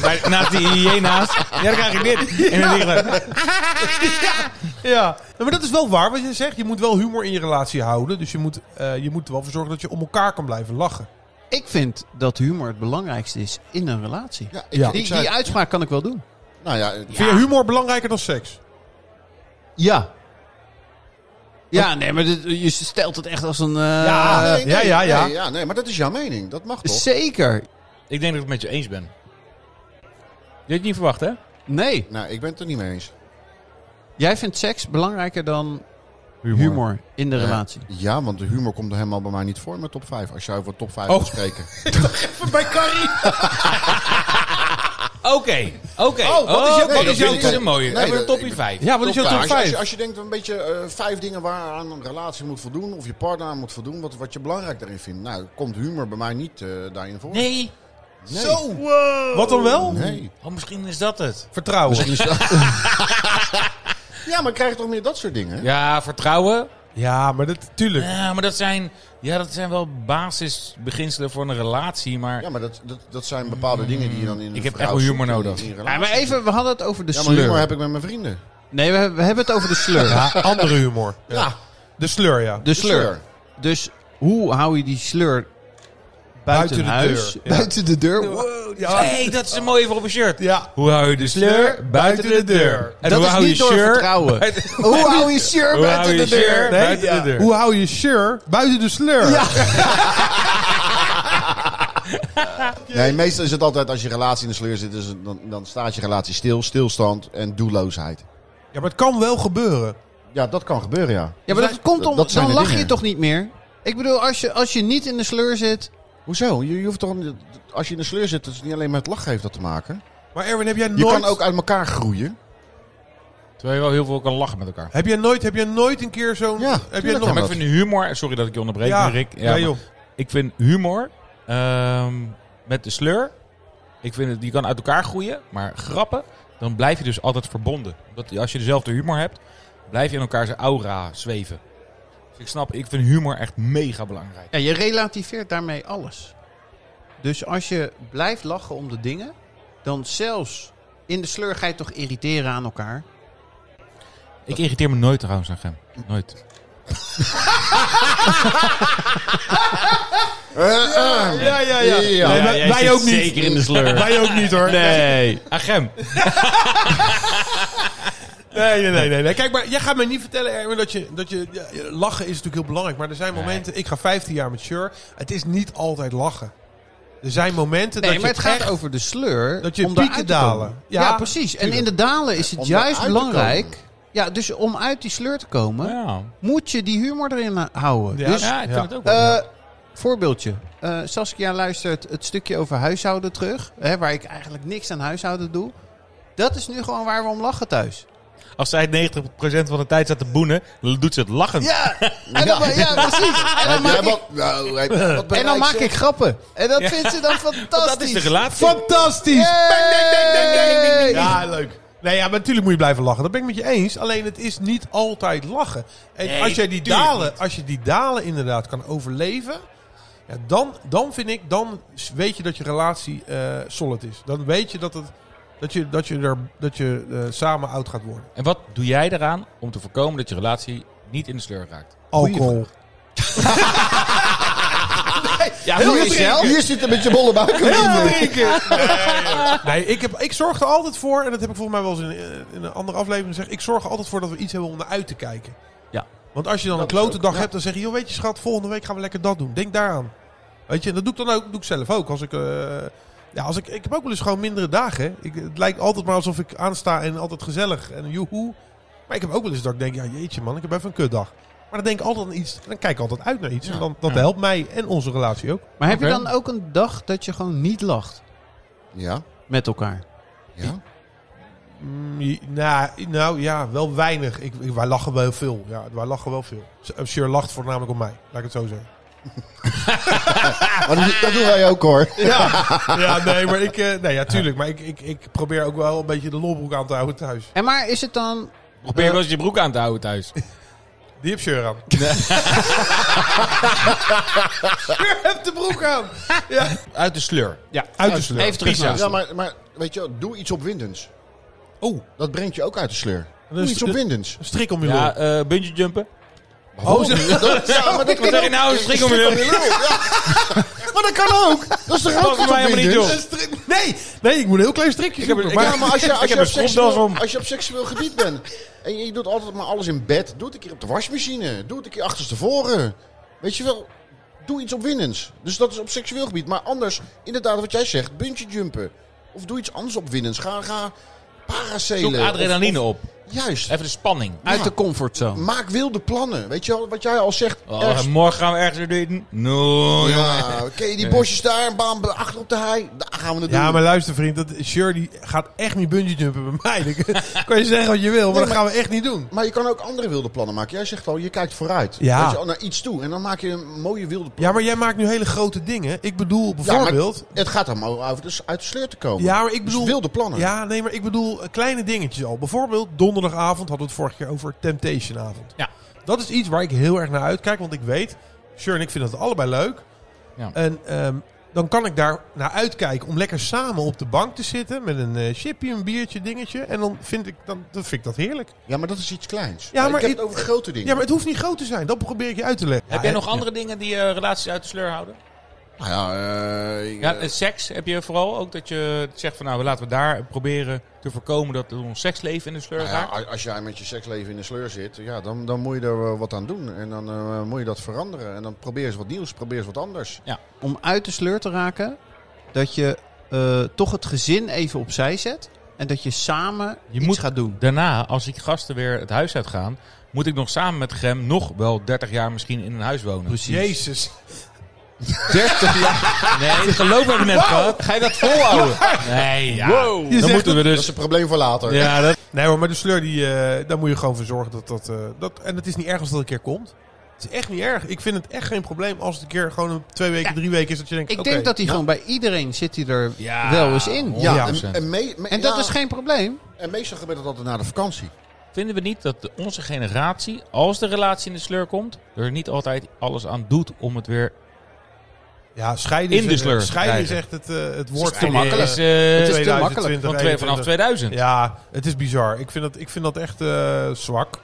Speaker 3: Bij, naast die hyena's.
Speaker 5: Ja, dat krijg ik dit.
Speaker 3: En dan denk ik,
Speaker 5: Ja, Nee, maar dat is wel waar wat je zegt. Je moet wel humor in je relatie houden. Dus je moet, eh, je moet er wel voor zorgen dat je om elkaar kan blijven lachen.
Speaker 4: Ik vind dat humor het belangrijkste is in een relatie.
Speaker 1: Ja, ik,
Speaker 5: Ja.
Speaker 1: ik
Speaker 4: Die,
Speaker 1: zei-
Speaker 4: die uitspraak kan ik wel doen.
Speaker 1: nou ja, eh,
Speaker 5: Vind je humor belangrijker dan seks?
Speaker 4: Ja. Ja, nee, maar dit- je stelt het echt als een... eh,
Speaker 5: Ja.
Speaker 1: nee, nee,
Speaker 5: ja, ja, ja.
Speaker 1: Nee, ja, nee, maar dat is jouw mening. Dat mag toch?
Speaker 4: Zeker.
Speaker 3: Ik denk dat ik het met je eens ben. Je had het niet verwacht, hè?
Speaker 4: Nee.
Speaker 1: Nou, ik ben het er niet mee eens.
Speaker 4: Jij vindt seks belangrijker dan humor, in de relatie.
Speaker 1: Ja, want de humor komt er helemaal bij mij niet voor met top 5. Als jij over top 5
Speaker 3: Oh.
Speaker 1: wil spreken.
Speaker 5: Bij Carrie.
Speaker 3: Oké, oké.
Speaker 5: Oh, wat is jouw- wat is jouw-
Speaker 3: dat is een mooie.
Speaker 1: Nee,
Speaker 3: Hebben we
Speaker 1: dat-
Speaker 3: een topje
Speaker 1: ik-
Speaker 3: 5.
Speaker 5: Ja, wat is jouw top
Speaker 1: Als je, als,
Speaker 5: 5?
Speaker 1: je, als je denkt een beetje eh, vijf dingen waaraan een relatie moet voldoen. Of je partner aan moet voldoen. Wat, wat je belangrijk daarin vindt. Nou, komt humor bij mij niet eh, daarin voor.
Speaker 3: Nee.
Speaker 1: Nee.
Speaker 5: Zo. Wat dan wel?
Speaker 1: Nee.
Speaker 3: Oh, misschien is dat het.
Speaker 5: Vertrouwen.
Speaker 1: Ja, maar krijg je toch meer dat soort dingen?
Speaker 3: Ja, vertrouwen.
Speaker 5: Ja, maar dat, tuurlijk.
Speaker 3: Ja, maar dat zijn, ja, dat zijn wel basisbeginselen voor een relatie. Maar
Speaker 1: Ja, maar dat, dat, dat zijn bepaalde dingen die je dan in een
Speaker 3: Ik heb
Speaker 1: vrouw
Speaker 3: echt wel humor
Speaker 1: zoekt en
Speaker 3: nodig.
Speaker 1: in een
Speaker 4: Ja,
Speaker 1: relatie.
Speaker 4: maar even, we hadden het over de
Speaker 1: Ja, maar
Speaker 4: sleur.
Speaker 1: humor heb ik met mijn vrienden.
Speaker 4: Nee, we, we hebben het over de sleur.
Speaker 5: Ja, andere humor.
Speaker 1: Ja.
Speaker 5: De sleur, ja.
Speaker 4: De sleur. Dus hoe hou je die sleur buiten,
Speaker 5: Buiten de
Speaker 4: huis?
Speaker 5: deur, ja.
Speaker 4: Buiten de deur.
Speaker 5: ja.
Speaker 3: hey, dat is een mooie voor op een shirt.
Speaker 5: Ja.
Speaker 3: Hoe hou je de sleur buiten de deur? En
Speaker 4: Dat
Speaker 3: hoe
Speaker 4: is
Speaker 3: hou
Speaker 4: niet
Speaker 3: je
Speaker 4: door
Speaker 3: shirt
Speaker 4: vertrouwen.
Speaker 3: buiten-
Speaker 4: Hoe hou je sleur
Speaker 3: Hoe hou
Speaker 4: buiten
Speaker 3: je
Speaker 4: de deur?
Speaker 3: shirt buiten
Speaker 5: ja.
Speaker 3: de deur?
Speaker 5: Hoe hou je sure buiten de sleur?
Speaker 4: Ja.
Speaker 1: Nee, meestal is het altijd als je relatie in de sleur zit, dus dan, dan staat je relatie stil, stilstand en doelloosheid.
Speaker 5: Ja, maar het kan wel gebeuren.
Speaker 1: Ja, dat kan gebeuren, ja.
Speaker 4: Ja, maar dat komt om,
Speaker 1: dat zijn
Speaker 4: dan
Speaker 1: de
Speaker 4: lach je
Speaker 1: dingen.
Speaker 4: toch niet meer? Ik bedoel, als je, als je niet in de sleur zit...
Speaker 1: Hoezo? Je, je hoeft toch, niet- als je in de sleur zit, dat is niet alleen met lachen heeft dat te maken.
Speaker 5: Maar Erwin, heb jij
Speaker 1: Je
Speaker 5: nooit...
Speaker 1: kan ook uit elkaar groeien.
Speaker 3: Terwijl je wel heel veel kan lachen met elkaar.
Speaker 5: Heb jij nooit, heb jij nooit een keer zo'n...
Speaker 1: Ja,
Speaker 5: heb jij
Speaker 1: tuurlijk
Speaker 5: nog...
Speaker 3: Ja, maar ik
Speaker 1: dat.
Speaker 3: vind humor... Sorry dat ik je onderbreek,
Speaker 5: Ja.
Speaker 3: maar Rick.
Speaker 5: Ja,
Speaker 3: maar
Speaker 5: joh.
Speaker 3: Ik vind humor ehm, met de sleur... Ik vind het, die kan uit elkaar groeien. Maar grappen, dan blijf je dus altijd verbonden. Omdat als je dezelfde humor hebt, blijf je in elkaar zijn aura zweven. Dus ik snap, ik vind humor echt mega belangrijk.
Speaker 4: Ja, je relativeert daarmee alles. Dus als je blijft lachen om de dingen... dan zelfs in de sleur ga je toch irriteren aan elkaar.
Speaker 3: Ik irriteer me nooit trouwens aan hem. Nooit.
Speaker 5: Ja, ja, ja.
Speaker 1: Ja.
Speaker 5: Nee, wij,
Speaker 3: jij
Speaker 5: wij
Speaker 3: zit
Speaker 5: ook niet.
Speaker 3: Zeker in de sleur.
Speaker 5: Wij ook niet, hoor.
Speaker 3: Nee. Ah, Agem.
Speaker 5: Nee, nee, nee, nee, nee. Kijk, maar jij gaat mij niet vertellen, Erwin, dat je, dat je... ja, Lachen is natuurlijk heel belangrijk, maar er zijn momenten... Ik ga 15 jaar met Sure. Het is niet altijd lachen. Er zijn momenten
Speaker 4: Nee,
Speaker 5: dat
Speaker 4: maar
Speaker 5: je
Speaker 4: het gaat
Speaker 5: echt-
Speaker 4: over de sleur.
Speaker 5: dat je
Speaker 4: om daar
Speaker 5: pieken
Speaker 4: uit te komen.
Speaker 5: dalen.
Speaker 4: Ja,
Speaker 5: Ja,
Speaker 4: precies. En
Speaker 5: tuurlijk.
Speaker 4: in de dalen is het
Speaker 1: Om eruit
Speaker 4: juist
Speaker 1: te
Speaker 4: belangrijk.
Speaker 1: komen.
Speaker 4: Ja, dus om uit die sleur te komen,
Speaker 3: Ja,
Speaker 4: moet je die humor erin ha- houden.
Speaker 5: Ja.
Speaker 4: Dus,
Speaker 3: ja ik vind
Speaker 5: Ja.
Speaker 3: het ook wel.
Speaker 4: eh, voorbeeldje. Eh, Saskia luistert het stukje over huishouden terug, hè, waar ik eigenlijk niks aan huishouden doe. Dat is nu gewoon waar we om lachen thuis.
Speaker 3: Als zij 90% van de tijd staat te boenen, dan doet ze het lachend.
Speaker 4: Ja, en dan, ja. precies. En dan maak ik, en dan maak ik grappen. En dat vindt ze dan fantastisch.
Speaker 3: dat is de relatie.
Speaker 5: Fantastisch!
Speaker 4: Yay!
Speaker 5: Bang, bang, bang, bang, bang, bang, bang. Ja, leuk. Nee, ja, maar natuurlijk moet je blijven lachen. Dat ben ik met je eens. Alleen het is niet altijd lachen. En
Speaker 3: Nee,
Speaker 5: als, jij die
Speaker 3: tuurlijk
Speaker 5: dalen, als je die dalen inderdaad kan overleven... Ja, dan, dan vind ik, dan weet je dat je relatie eh, solid is. Dan weet je dat, het, dat je, dat je, er, dat je eh, samen oud gaat worden.
Speaker 3: En wat doe jij eraan om te voorkomen dat je relatie niet in de sleur raakt?
Speaker 5: Alcohol.
Speaker 3: Ja,
Speaker 4: Heel jezelf.
Speaker 1: Hier zit een beetje bolle buik.
Speaker 5: Heel drinken! Nee, ik, heb, ik zorg er altijd voor, en dat heb ik volgens mij wel eens in, eh, in een andere aflevering gezegd. Ik zorg er altijd voor dat we iets hebben om naar uit te kijken.
Speaker 4: Ja.
Speaker 5: Want als je dan een klote dag hebt, dan zeg je, joh, weet je schat, volgende week gaan we lekker dat doen. Denk daaraan. Weet je, en dat doe ik dan ook, doe ik zelf ook. Als ik, eh, ja, als ik, ik heb ook wel eens gewoon mindere dagen. hè. Ik, het lijkt altijd maar alsof ik aansta en altijd gezellig en joehoe. Maar ik heb ook wel eens dat ik denk, ja jeetje man, ik heb even een kutdag. Maar dan denk ik altijd aan iets, dan kijk ik altijd uit naar iets. En dan, dat
Speaker 3: Ja.
Speaker 5: helpt mij en onze relatie ook.
Speaker 4: Maar heb
Speaker 3: Oké.
Speaker 4: je dan ook een dag dat je gewoon niet lacht
Speaker 1: Ja,
Speaker 4: met elkaar?
Speaker 1: ja.
Speaker 5: Mm, je- nou, nou ja, wel weinig. Ik, ik, wij lachen wel veel. Ja, wij lachen wel veel. Sure lacht voornamelijk om mij, laat ik het zo zeggen.
Speaker 1: Maar dat- dat doen wij ook hoor.
Speaker 5: Ja, ja nee, maar ik, eh, nee, ja, tuurlijk. Maar ik, ik, ik probeer ook wel een beetje de lolbroek aan te houden thuis.
Speaker 4: En maar is het dan
Speaker 3: Probeer wel eens je broek aan te houden thuis.
Speaker 5: Die heb Sure aan. Sure heeft de broek aan. Ja.
Speaker 3: Uit de sleur.
Speaker 5: ja, uit de sleur.
Speaker 4: Even terug
Speaker 3: Pizza.
Speaker 4: naar
Speaker 1: Ja, maar, maar weet je, wel, doe iets opwindends.
Speaker 5: Oh,
Speaker 1: Dat brengt je ook uit de sleur. Doe
Speaker 5: Dus-
Speaker 1: iets opwindends.
Speaker 5: een strik om je
Speaker 3: Ja,
Speaker 5: lul.
Speaker 3: eh bungee jumpen.
Speaker 1: Behalve
Speaker 5: Oh,
Speaker 1: die- dat, ja, maar dat
Speaker 3: Wat
Speaker 1: kan
Speaker 3: zeg je
Speaker 1: ook.
Speaker 3: nou? Schrik om je
Speaker 1: Schrik
Speaker 3: lul.
Speaker 1: om je lul, ja. Maar dat kan ook. Dat is toch
Speaker 3: Past
Speaker 1: ook
Speaker 3: bij
Speaker 1: wat
Speaker 3: mij helemaal niet,
Speaker 1: opwindend?
Speaker 3: joh.
Speaker 5: Een strik- Nee, nee, ik moet een heel klein strikje
Speaker 3: Ik heb-
Speaker 5: zoeken.
Speaker 3: ik
Speaker 5: maar,
Speaker 1: Ja, maar als je,
Speaker 3: Ik
Speaker 1: als, je
Speaker 3: heb
Speaker 1: op
Speaker 3: een stropdas
Speaker 1: seksueel,
Speaker 3: om.
Speaker 1: als je op seksueel gebied bent en je doet altijd maar alles in bed, doe het een keer op de wasmachine, doe het een keer achterstevoren. Weet je wel, doe iets opwindends. Dus dat is op seksueel gebied. Maar anders, inderdaad wat jij zegt, bungee jumpen. Of doe iets anders opwindends. Ga, ga paracelen.
Speaker 3: Zoek adrenaline
Speaker 1: Of-
Speaker 3: op.
Speaker 1: of- Juist.
Speaker 3: Even de spanning.
Speaker 4: Uit
Speaker 1: Ja.
Speaker 4: de comfortzone.
Speaker 1: Maak wilde plannen. Weet je wel, wat jij al zegt.
Speaker 3: Oh,
Speaker 1: ergens-
Speaker 3: en morgen gaan we ergens weer doen. No, jongen.
Speaker 1: ja, ken je die bosjes daar, bam, achter op de hei. Daar gaan we het
Speaker 5: ja,
Speaker 1: doen.
Speaker 5: maar luister vriend, dat Shirley gaat echt niet bungee jumpen bij mij. Dan kan je zeggen wat je wil, maar dat gaan we echt niet doen.
Speaker 1: Maar je kan ook andere wilde plannen maken. Jij zegt al, je kijkt vooruit.
Speaker 5: Ja.
Speaker 1: Weet je, al naar iets toe. En dan maak je een mooie wilde plan.
Speaker 5: Ja, maar jij maakt nu hele grote dingen. Ik bedoel
Speaker 1: Ja, maar
Speaker 5: bijvoorbeeld...
Speaker 1: het gaat dan maar over dus uit de sleur te komen.
Speaker 5: Ja, maar ik
Speaker 1: Dus
Speaker 5: bedoel-
Speaker 1: wilde plannen.
Speaker 5: Ja, nee, maar ik bedoel eh, kleine dingetjes al. Bijvoorbeeld donderdagavond hadden we het vorige keer over Temptationavond.
Speaker 3: Ja.
Speaker 5: Dat is iets waar ik heel erg naar uitkijk, want ik weet, Sjur en ik vinden het allebei leuk.
Speaker 3: Ja.
Speaker 5: En ehm, dan kan ik daar naar uitkijken om lekker samen op de bank te zitten met een eh chipje, een biertje, dingetje. En dan vind ik, dan, dan vind ik dat heerlijk.
Speaker 1: Ja, maar dat is iets kleins.
Speaker 5: Ja,
Speaker 1: ik
Speaker 5: maar
Speaker 1: heb
Speaker 5: ik-
Speaker 1: het over grote dingen.
Speaker 5: Ja, maar het hoeft niet groot te zijn. Dat probeer ik je uit te leggen.
Speaker 3: Heb
Speaker 5: Ja,
Speaker 3: jij
Speaker 5: en-
Speaker 3: nog andere dingen die eh, relaties uit de sleur houden?
Speaker 1: Nou ja, eh,
Speaker 3: Ja,
Speaker 1: eh,
Speaker 3: eh, seks heb je vooral ook dat je zegt van nou laten we daar proberen te voorkomen dat ons seksleven in de sleur
Speaker 1: nou ja,
Speaker 3: raakt.
Speaker 1: a- als jij met je seksleven in de sleur zit, ja, dan, dan moet je er eh, wat aan doen. En dan eh, moet je dat veranderen. En dan probeer eens wat nieuws, probeer eens wat anders.
Speaker 3: Dus-
Speaker 4: Om uit de sleur te raken, dat je eh, toch het gezin even opzij zet. En dat je samen
Speaker 3: Je
Speaker 4: iets
Speaker 3: moet-
Speaker 4: gaat doen.
Speaker 3: Daarna, als die gasten weer het huis uitgaan, moet ik nog samen met Grem nog wel 30 jaar misschien in een huis wonen.
Speaker 4: Precies.
Speaker 5: Jezus.
Speaker 1: 30 jaar.
Speaker 3: Nee, dat geloof ik net, Kap. Ga je dat volhouden? Nee, ja.
Speaker 5: Je
Speaker 3: Dan
Speaker 5: zegt
Speaker 3: moeten we
Speaker 1: Dat is
Speaker 3: dus...
Speaker 1: een probleem voor later.
Speaker 3: Ja, dat...
Speaker 5: Nee hoor, maar de sleur, die, eh, daar moet je gewoon voor zorgen dat dat, eh, dat... En het is niet erg als dat een keer komt. Het is echt niet erg. Ik vind het echt geen probleem als het een keer gewoon een twee weken, drie weken is dat je denkt...
Speaker 4: Ik
Speaker 5: oké.
Speaker 4: denk dat hij gewoon bij iedereen zit hij er
Speaker 3: Ja,
Speaker 4: wel eens in.
Speaker 1: Ja,
Speaker 5: Ja.
Speaker 1: en, en, mee- me-
Speaker 4: En dat
Speaker 1: ja,
Speaker 4: is geen probleem.
Speaker 1: en meestal gebeurt dat altijd na de vakantie.
Speaker 3: Vinden we niet dat de- onze generatie, als de relatie in de sleur komt, er niet altijd alles aan doet om het weer...
Speaker 5: Ja, scheiden,
Speaker 3: In
Speaker 5: is,
Speaker 3: de sleur
Speaker 5: scheiden is
Speaker 3: krijgen.
Speaker 5: echt het, eh, het woord
Speaker 1: te
Speaker 5: van
Speaker 1: makkelijk.
Speaker 3: Is, eh,
Speaker 4: Het is te
Speaker 5: 2020,
Speaker 4: makkelijk,
Speaker 3: van twee- vanaf
Speaker 5: 21.
Speaker 3: 2000.
Speaker 5: Ja, het is bizar. Ik vind dat, ik vind dat echt eh, zwak.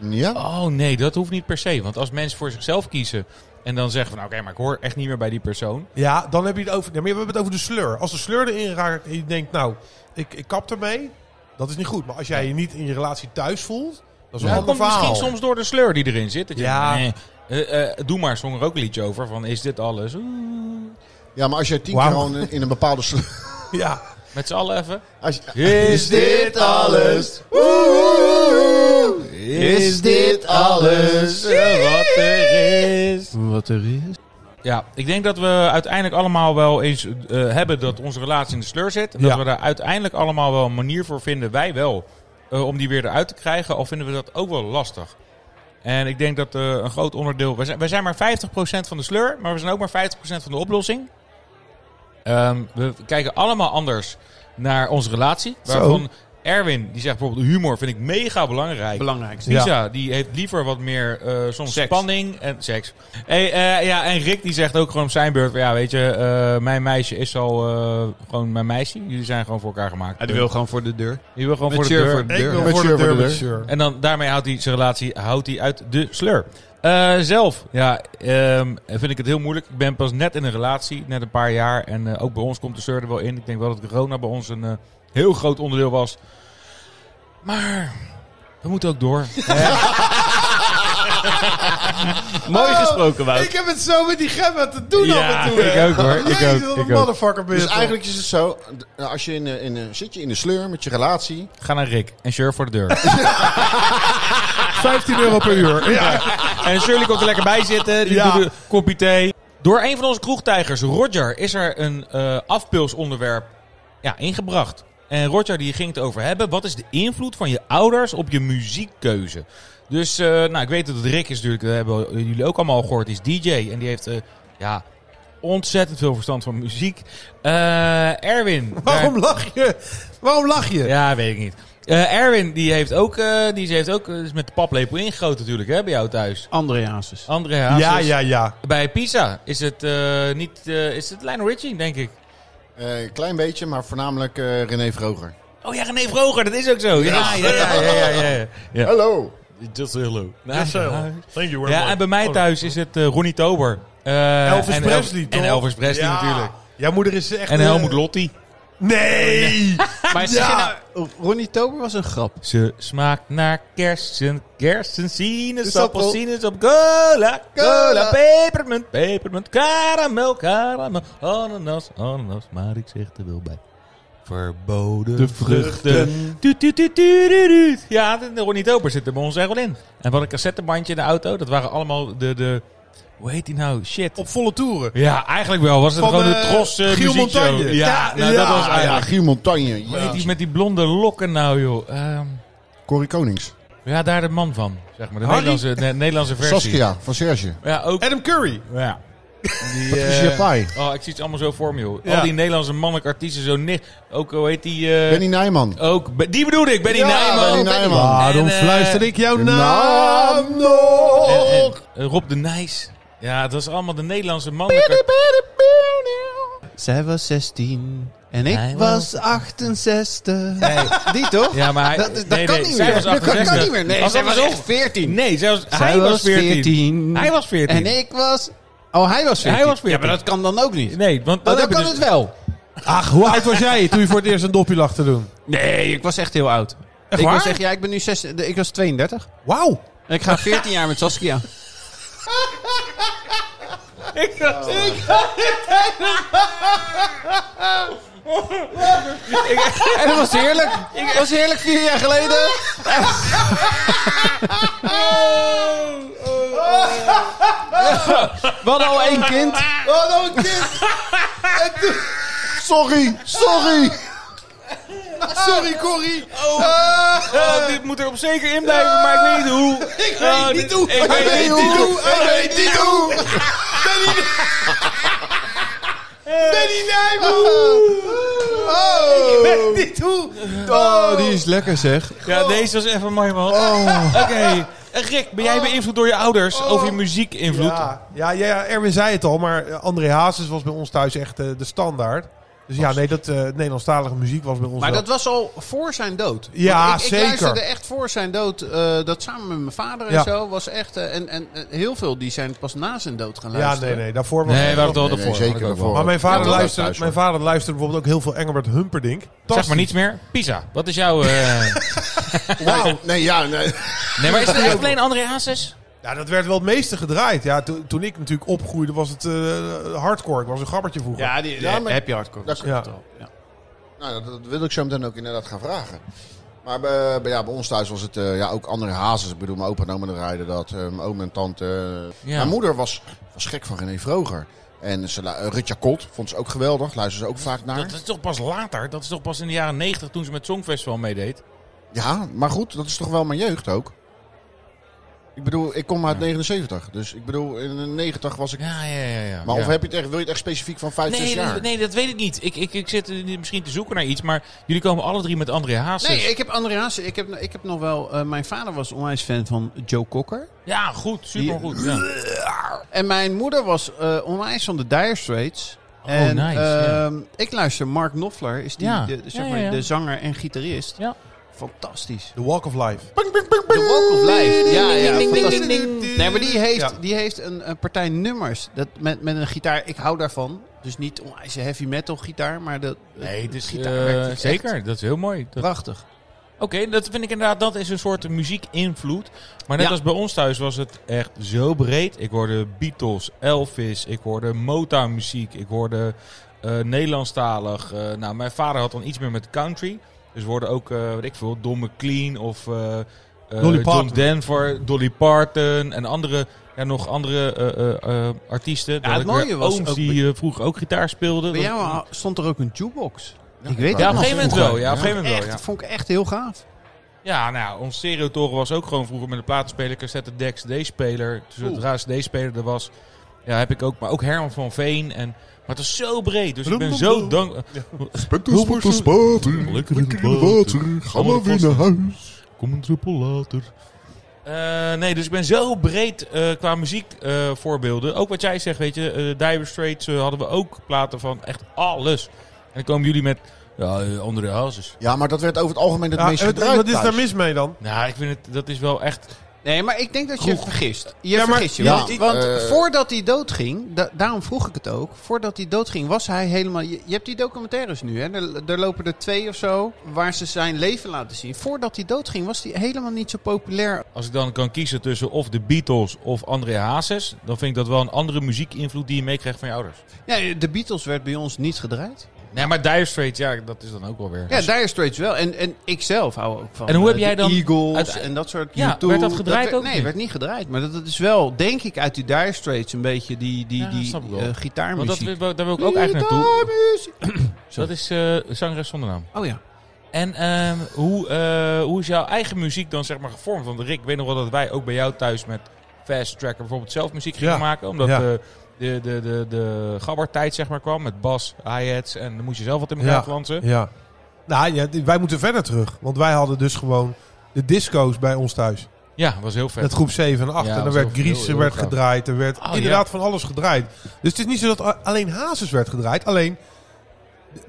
Speaker 1: Ja?
Speaker 3: Oh nee, dat hoeft niet per se. Want als mensen voor zichzelf kiezen en dan zeggen van... nou, Oké, maar ik hoor echt niet meer bij die persoon.
Speaker 5: Ja, dan heb je het over, ja, maar we hebben het over de sleur. Als de sleur erin raakt en je denkt, nou, ik, ik kap ermee, dat is niet goed. Maar als jij je niet in je relatie thuis voelt, dat is een
Speaker 3: Dat
Speaker 5: ander
Speaker 3: komt
Speaker 5: verhaal.
Speaker 3: misschien soms door de sleur die erin zit. Dat je
Speaker 5: Ja.
Speaker 3: denkt, nee, eh, eh, doe maar, zong er ook een liedje over. Van is dit alles? Oeh.
Speaker 1: Ja, maar als jij tien
Speaker 5: Wauw.
Speaker 1: keer gewoon in in een bepaalde sleur...
Speaker 5: Ja.
Speaker 3: Met z'n allen even.
Speaker 1: Als je-
Speaker 3: Is dit alles?
Speaker 1: Is dit alles?
Speaker 3: eh, Wat er is.
Speaker 4: Wat er is.
Speaker 3: Ja, ik denk dat we uiteindelijk allemaal wel eens eh, hebben dat onze relatie in de sleur zit. En dat
Speaker 5: Ja.
Speaker 3: we daar uiteindelijk allemaal wel een manier voor vinden, wij wel, eh, om die weer eruit te krijgen. Al vinden we dat ook wel lastig. En ik denk dat eh, een groot onderdeel... Wij zijn, wij zijn maar 50% van de sleur, maar we zijn ook maar 50% van de oplossing. Ehm, we kijken allemaal anders naar onze relatie.
Speaker 5: Zo.
Speaker 3: Waarvan Erwin, die zegt bijvoorbeeld humor, vind ik mega belangrijk.
Speaker 4: Belangrijk.
Speaker 5: Ja.
Speaker 3: Lisa, die heeft liever wat meer eh, soms
Speaker 4: Seks.
Speaker 3: spanning en seks. Hey, eh, ja, en Rick die zegt ook gewoon op zijn beurt, ja weet je, eh, mijn meisje is al eh, gewoon mijn meisje. Jullie zijn gewoon voor elkaar gemaakt.
Speaker 4: die wil gewoon voor de deur.
Speaker 3: Je wil gewoon
Speaker 4: Met
Speaker 3: voor de
Speaker 4: Sjur
Speaker 3: deur.
Speaker 4: voor de
Speaker 5: Ik wil
Speaker 1: Met
Speaker 5: voor de
Speaker 1: sleur,
Speaker 5: deur
Speaker 1: voor de
Speaker 5: met
Speaker 1: deur.
Speaker 5: sleur.
Speaker 3: En dan, daarmee houdt hij zijn relatie houdt hij uit de sleur. Eh, zelf, ja, ehm, vind ik het heel moeilijk. Ik ben pas net in een relatie, net een paar jaar. En eh, ook bij ons komt de sleur er wel in. Ik denk wel dat corona bij ons een eh, heel groot onderdeel was. Maar we moeten ook door. Eh.
Speaker 6: Mooi gesproken, Wout.
Speaker 5: Ik heb het zo met die gemma te doen af en toe. hè.
Speaker 3: ik ook hoor. Ik
Speaker 5: Jezus,
Speaker 3: ook,
Speaker 5: wat
Speaker 3: ik
Speaker 5: een
Speaker 3: ook.
Speaker 5: motherfucker ben je
Speaker 1: Dus
Speaker 5: toch.
Speaker 1: eigenlijk is het zo, d- als je in, eh, in, eh, zit je in de sleur met je relatie.
Speaker 3: Ga naar Rick en Sjur voor de deur.
Speaker 5: 15 euro per uur. Ja.
Speaker 3: en Shirley komt er lekker bij zitten. Die
Speaker 5: Ja.
Speaker 3: doet een kopje thee. Door een van onze kroegtijgers, Roger, is er een eh afpilsonderwerp ja, ingebracht. En Roger die ging het over hebben. Wat is de invloed van je ouders op je muziekkeuze? Dus eh, nou, ik weet dat Rick is natuurlijk, dat hebben jullie ook allemaal al gehoord, is DJ. En die heeft eh, ja, ontzettend veel verstand van muziek. Eh, Erwin. daar-
Speaker 5: Waarom lach je? Waarom lach je?
Speaker 3: Ja, weet ik niet. Eh, Erwin, die heeft ook, eh, die heeft ook eh, is met de paplepel ingegoten natuurlijk, hè, bij jou thuis.
Speaker 4: André Hazes.
Speaker 3: André Hazes.
Speaker 5: ja, ja. ja.
Speaker 3: Bij Pisa is het eh, niet, eh, is het Lionel Richie, denk ik.
Speaker 1: Eh klein beetje, maar voornamelijk eh René Vroger.
Speaker 3: Oh ja, René Vroger, dat is ook zo. Ja, ja, ja, ja, ja. ja, ja.
Speaker 1: Hallo,
Speaker 6: Just hello.
Speaker 3: Yes, sir.
Speaker 5: Thank you
Speaker 3: Ja, en bij mij thuis is het eh, Ronnie Tober. Eh,
Speaker 5: Elvis
Speaker 3: en
Speaker 5: Presley,
Speaker 3: El-
Speaker 5: toch?
Speaker 3: En Elvis Presley
Speaker 5: Ja.
Speaker 3: natuurlijk.
Speaker 5: Jouw moeder is echt...
Speaker 3: En
Speaker 5: eh,
Speaker 3: Helmut Lotti.
Speaker 5: Nee!
Speaker 4: Maar zeg je
Speaker 5: Ah,
Speaker 4: nou, Ronnie Tober was een grap.
Speaker 3: Ze smaakt naar kersen, kersen, sinaasappel,
Speaker 4: Appel.
Speaker 3: sinaasappel, cola, cola,
Speaker 4: Cola.
Speaker 3: pepermunt, pepermunt, karamel, karamel, ananas, ananas. Maar ik zeg er wel bij. Verboden
Speaker 4: De vruchten.
Speaker 3: Tuut, tuut, tuut, tuut, tuut, tuut. Ja, de de Ronnie Tober zit er bij ons echt wel in. En wat een cassettebandje in de auto. Dat waren allemaal de, de hoe heet die nou? Shit.
Speaker 5: Op volle toeren.
Speaker 3: Ja, eigenlijk wel. Was het
Speaker 5: Van,
Speaker 3: gewoon de
Speaker 5: eh,
Speaker 3: tros eh,
Speaker 5: Giel
Speaker 3: muziekshow.
Speaker 5: Montagne.
Speaker 3: Ja, nou, dat was
Speaker 1: Ah ja,
Speaker 3: eigenlijk.
Speaker 1: Giel Montagne.
Speaker 3: Hoe heet die met die blonde lokken nou, joh? Ehm,
Speaker 1: Corrie Konings.
Speaker 3: ja, daar de man van, zeg maar. De
Speaker 5: Harry?
Speaker 3: Nederlandse, de Nederlandse versie.
Speaker 1: Saskia van Serge.
Speaker 3: Ja, ook.
Speaker 5: Adam Curry.
Speaker 3: Ja. Die,
Speaker 1: Patricia
Speaker 3: eh,
Speaker 1: Pai.
Speaker 3: Oh, ik zie het allemaal zo voor me, joh.
Speaker 5: Ja.
Speaker 3: Al die Nederlandse mannelijke artiesten zo nicht. Ook, hoe heet die... eh,
Speaker 1: Benny Nijman.
Speaker 3: Ook, Be- die bedoelde ik, Benny
Speaker 1: Ja,
Speaker 3: Nijman.
Speaker 1: Benny Nijman.
Speaker 5: Waarom
Speaker 3: En, eh,
Speaker 5: fluister ik jouw
Speaker 1: de
Speaker 5: naam
Speaker 1: naam
Speaker 3: nou?
Speaker 5: nog?
Speaker 3: En, en, eh, Rob de Nijs. Ja, dat is allemaal de Nederlandse mannelijke...
Speaker 4: Zij was 16 en ik
Speaker 3: Hij
Speaker 4: was 68. Die toch?
Speaker 3: Ja, maar hij-
Speaker 4: dat dat
Speaker 3: nee,
Speaker 4: kan
Speaker 3: nee,
Speaker 4: niet
Speaker 3: zij
Speaker 4: meer.
Speaker 3: was
Speaker 4: dat kan
Speaker 3: 68.
Speaker 4: niet meer. Nee,
Speaker 3: Was
Speaker 4: zij
Speaker 3: dat
Speaker 4: was
Speaker 3: zo?
Speaker 4: echt 14.
Speaker 3: Nee, zelfs,
Speaker 4: Zij
Speaker 3: hij was 14. Hij was 14.
Speaker 4: En ik was... Oh, hij was 14.
Speaker 3: Hij was 14.
Speaker 4: Ja, maar dat kan dan ook niet.
Speaker 3: Nee, want
Speaker 4: Maar
Speaker 3: dat
Speaker 4: dan
Speaker 3: heb je
Speaker 4: kan
Speaker 3: dus-
Speaker 4: het wel.
Speaker 5: Ach, hoe oud was jij toen je voor het eerst een dopje lag te doen?
Speaker 4: Nee, ik was echt heel oud. ik
Speaker 5: waar?
Speaker 4: was echt, ja, ik ben nu 6, ik was 32.
Speaker 5: Wauw.
Speaker 4: En ik ga 14 jaar met Saskia. Oh. En dat was heerlijk. Dat was heerlijk vier jaar geleden. We hadden al één kind.
Speaker 1: Oh, een kind! sorry, sorry! sorry, Corrie!
Speaker 3: Oh, dit moet er op zeker in blijven, maar ik weet niet hoe. Ik weet niet hoe. Ik weet niet hoe.
Speaker 1: Ik weet niet hoe!
Speaker 5: Benny Nijman.
Speaker 1: Oh!
Speaker 5: Dit hoe?
Speaker 4: Oh, die is lekker zeg.
Speaker 3: Ja, deze was even mooi, man. Oké. Eh, Rick, ben jij beïnvloed door je ouders over je muziekinvloed?
Speaker 5: Ja, ja, ja, ja, Erwin zei het al, maar eh, André Hazes was bij ons thuis echt eh, de standaard. Dus ja, nee, dat eh, Nederlandstalige muziek was bij ons
Speaker 4: Maar
Speaker 5: wel-
Speaker 4: dat was al voor zijn dood.
Speaker 5: Ja,
Speaker 4: Want ik,
Speaker 5: zeker.
Speaker 4: Ik luisterde echt voor zijn dood. eh, dat samen met mijn vader en
Speaker 5: Ja.
Speaker 4: zo was echt... eh, en, en eh, heel veel die zijn pas na zijn dood gaan
Speaker 5: Ja,
Speaker 4: luisteren.
Speaker 5: nee, nee, daarvoor was
Speaker 3: Nee, we hadden het al
Speaker 1: Nee, nee,
Speaker 3: ervoor.
Speaker 1: zeker daarvoor.
Speaker 5: Maar mijn
Speaker 1: Ja,
Speaker 5: vader,
Speaker 1: dat
Speaker 5: luisterde,
Speaker 1: thuis,
Speaker 5: mijn
Speaker 1: hoor.
Speaker 5: vader luisterde bijvoorbeeld ook heel veel Engelbert Humperdinck.
Speaker 3: Zeg maar
Speaker 5: Fantastisch.
Speaker 3: niets meer. Pisa, wat is jouw... eh,
Speaker 1: Wauw, nee, ja, nee.
Speaker 3: Nee, maar is het echt alleen André Hazes?
Speaker 5: Ja, dat werd wel het meeste gedraaid. Ja, toen- toen ik natuurlijk opgroeide was het eh, hardcore. Ik was een grappertje vroeger.
Speaker 4: Ja, die,
Speaker 1: Ja, maar-
Speaker 4: happy hardcore.
Speaker 1: Dat-
Speaker 4: was het
Speaker 5: ja.
Speaker 4: al, ja.
Speaker 1: Nou, dat, dat wil ik zo meteen ook inderdaad gaan vragen. Maar eh, bij, bij- ja, bij ons thuis was het eh, ja, ook andere hazes. Ik bedoel, mijn opa en oma rijden dat. eh, mijn oom en tante. eh.
Speaker 3: Ja.
Speaker 1: Mijn moeder was, was gek van René Vroger. En ze, lu- eh, Rutja Kot vond ze ook geweldig. Luisterde ze ook vaak naar.
Speaker 3: Dat is toch pas later? Dat is toch pas in de jaren 90 toen ze met Songfestival meedeed?
Speaker 1: Ja, maar goed, dat is toch wel mijn jeugd ook. Ik bedoel, ik kom uit 79. Dus ik bedoel, in de 90 was ik...
Speaker 3: Ja, ja, ja. ja.
Speaker 1: Maar
Speaker 3: ja.
Speaker 1: of heb je het echt, wil je het echt specifiek van 5, 6
Speaker 3: Nee,
Speaker 1: jaar?
Speaker 3: dat, nee, dat weet ik niet. Ik, ik, ik zit eh, misschien te zoeken naar iets, maar jullie komen alle drie met André Hazes.
Speaker 4: Nee, ik heb André Hazes, ik heb, ik heb nog wel... eh, mijn vader was onwijs fan van Joe Cocker.
Speaker 3: Ja, goed. Supergoed. Ja.
Speaker 4: En mijn moeder was eh, onwijs van de Dire Straits.
Speaker 3: Oh,
Speaker 4: en,
Speaker 3: nice, ja.
Speaker 4: ehm, Ik luister, Mark Knopfler is die,
Speaker 3: Ja.
Speaker 4: de, zeg
Speaker 3: Ja, ja,
Speaker 4: maar,
Speaker 3: ja.
Speaker 4: de zanger en gitarist.
Speaker 3: Ja.
Speaker 4: Fantastisch.
Speaker 5: The Walk of Life.
Speaker 4: De Walk of Life. Ja, ja, fantastisch.
Speaker 5: ding.
Speaker 4: Nee, maar die heeft,
Speaker 5: Ja.
Speaker 4: die heeft een, een partij nummers. Dat met, met een gitaar, ik hou daarvan. Dus niet onwijs een heavy metal gitaar, maar de,
Speaker 3: Nee, dus,
Speaker 4: gitaar
Speaker 3: eh,
Speaker 4: werkt echt
Speaker 3: zeker. Dat is heel mooi. Dat-
Speaker 4: Prachtig.
Speaker 3: Oké, dat vind ik inderdaad. Dat is een soort muziekinvloed. Maar net
Speaker 4: Ja.
Speaker 3: als bij ons thuis was het echt zo breed. Ik hoorde Beatles, Elvis. Ik hoorde Motown muziek. Ik hoorde eh, Nederlandstalig. Eh, nou, mijn vader had dan iets meer met country. Dus we hoorden ook, eh weet ik veel, Don McLean of eh, eh, John
Speaker 5: Parton.
Speaker 3: Denver, Dolly Parton en andere, ja, nog andere eh, eh, eh, artiesten. Dan
Speaker 4: het
Speaker 3: had ik weer
Speaker 4: mooie was
Speaker 3: ooms
Speaker 4: ook
Speaker 3: die eh, vroeger ook gitaar speelden.
Speaker 4: Bij
Speaker 3: Dat-
Speaker 4: jou ha- stond er ook een jukebox. ik
Speaker 1: ja,
Speaker 4: weet
Speaker 3: ja,
Speaker 4: dat
Speaker 3: op een
Speaker 4: nog
Speaker 3: gegeven moment
Speaker 4: vroeger.
Speaker 3: wel. Ja, op een gegeven moment
Speaker 4: Echt,
Speaker 3: wel. Ja.
Speaker 4: vond ik echt heel gaaf.
Speaker 3: Ja, nou, ja, ons stereotoren was ook gewoon vroeger met een platenspeler, cassette deck, cd-speler. Dus zodra cd-speler er was, ja, heb ik ook. Maar ook Herman van Veen. En, maar het is zo breed, dus ik ben zo dankbaar.
Speaker 7: Spectus, spectus, spater. Lekker in het water. Ga maar weer naar huis. Kom een druppel later.
Speaker 3: Eh, nee, dus ik ben zo breed eh, qua muziekvoorbeelden. voorbeelden. ook wat jij zegt, weet je, eh Dire Straits eh, hadden we ook platen van echt alles. En dan komen jullie met, ja, eh, André Hazes.
Speaker 1: Ja, maar dat werd over het algemeen het
Speaker 5: Ja,
Speaker 1: meest
Speaker 5: en wat,
Speaker 1: gebruikt
Speaker 5: wat is daar
Speaker 1: thuis.
Speaker 5: mis mee dan?
Speaker 3: Nou, ik vind het, dat is wel echt
Speaker 4: Nee, maar ik denk dat je vergist. Je
Speaker 5: maar-
Speaker 4: vergist je.
Speaker 1: Ja,
Speaker 4: want
Speaker 1: ik-
Speaker 4: want
Speaker 1: eh,
Speaker 4: voordat hij doodging, da- daarom vroeg ik het ook. Voordat hij doodging was hij helemaal... Je, je hebt die documentaires nu, hè. Er, er lopen er twee of zo waar ze zijn leven laten zien. Voordat hij doodging was hij helemaal niet zo populair.
Speaker 3: Als ik dan kan kiezen tussen of de Beatles of André Hazes, dan vind ik dat wel een andere muziekinvloed die je meekrijgt van je ouders.
Speaker 4: Ja, de Beatles werd bij ons niet gedraaid.
Speaker 3: Nee, maar Dire Straits, ja, dat is dan ook wel weer.
Speaker 4: Ja, Dire Straits wel. En, en ik zelf hou ook van
Speaker 3: En hoe
Speaker 4: eh,
Speaker 3: heb jij
Speaker 4: de
Speaker 3: dan
Speaker 4: Eagles
Speaker 3: uit-
Speaker 4: en dat soort
Speaker 3: Ja,
Speaker 4: YouTube.
Speaker 3: werd dat gedraaid
Speaker 4: werd-
Speaker 3: ook
Speaker 4: Nee,
Speaker 3: niet?
Speaker 4: werd niet gedraaid. Maar dat, dat is wel, denk ik, uit die Dire Straits een beetje die, die,
Speaker 3: Ja, dat
Speaker 4: die
Speaker 3: snap ik wel.
Speaker 4: eh,
Speaker 3: Want dat,
Speaker 4: gitaarmuziek.
Speaker 3: wil- daar wil ik ook eigenlijk naartoe. Dat is eh zangeres zonder naam.
Speaker 4: Oh ja.
Speaker 3: En ehm, hoe, eh, hoe is jouw eigen muziek dan zeg maar gevormd? Want Rick, ik weet nog wel dat wij ook bij jou thuis met Fast Tracker bijvoorbeeld zelf muziek gingen
Speaker 5: Ja.
Speaker 3: maken. Omdat
Speaker 5: Ja.
Speaker 3: eh, de, de, de, de gabbertijd zeg maar kwam met bas, hi-hats en dan moest je zelf wat in elkaar
Speaker 5: Ja.
Speaker 3: flansen.
Speaker 5: Ja. Nou, ja, d- wij moeten verder terug. Want wij hadden dus gewoon de disco's bij ons thuis.
Speaker 3: Ja, was heel vet.
Speaker 5: Met groep 7 en 8.
Speaker 3: Ja,
Speaker 5: en er
Speaker 3: dat
Speaker 5: werd
Speaker 3: was heel-
Speaker 5: Gries
Speaker 3: heel
Speaker 5: werd
Speaker 3: gaaf.
Speaker 5: gedraaid. Er werd
Speaker 3: Oh,
Speaker 5: inderdaad van alles gedraaid. Dus het is niet zo dat a- alleen Hazes werd gedraaid. Alleen,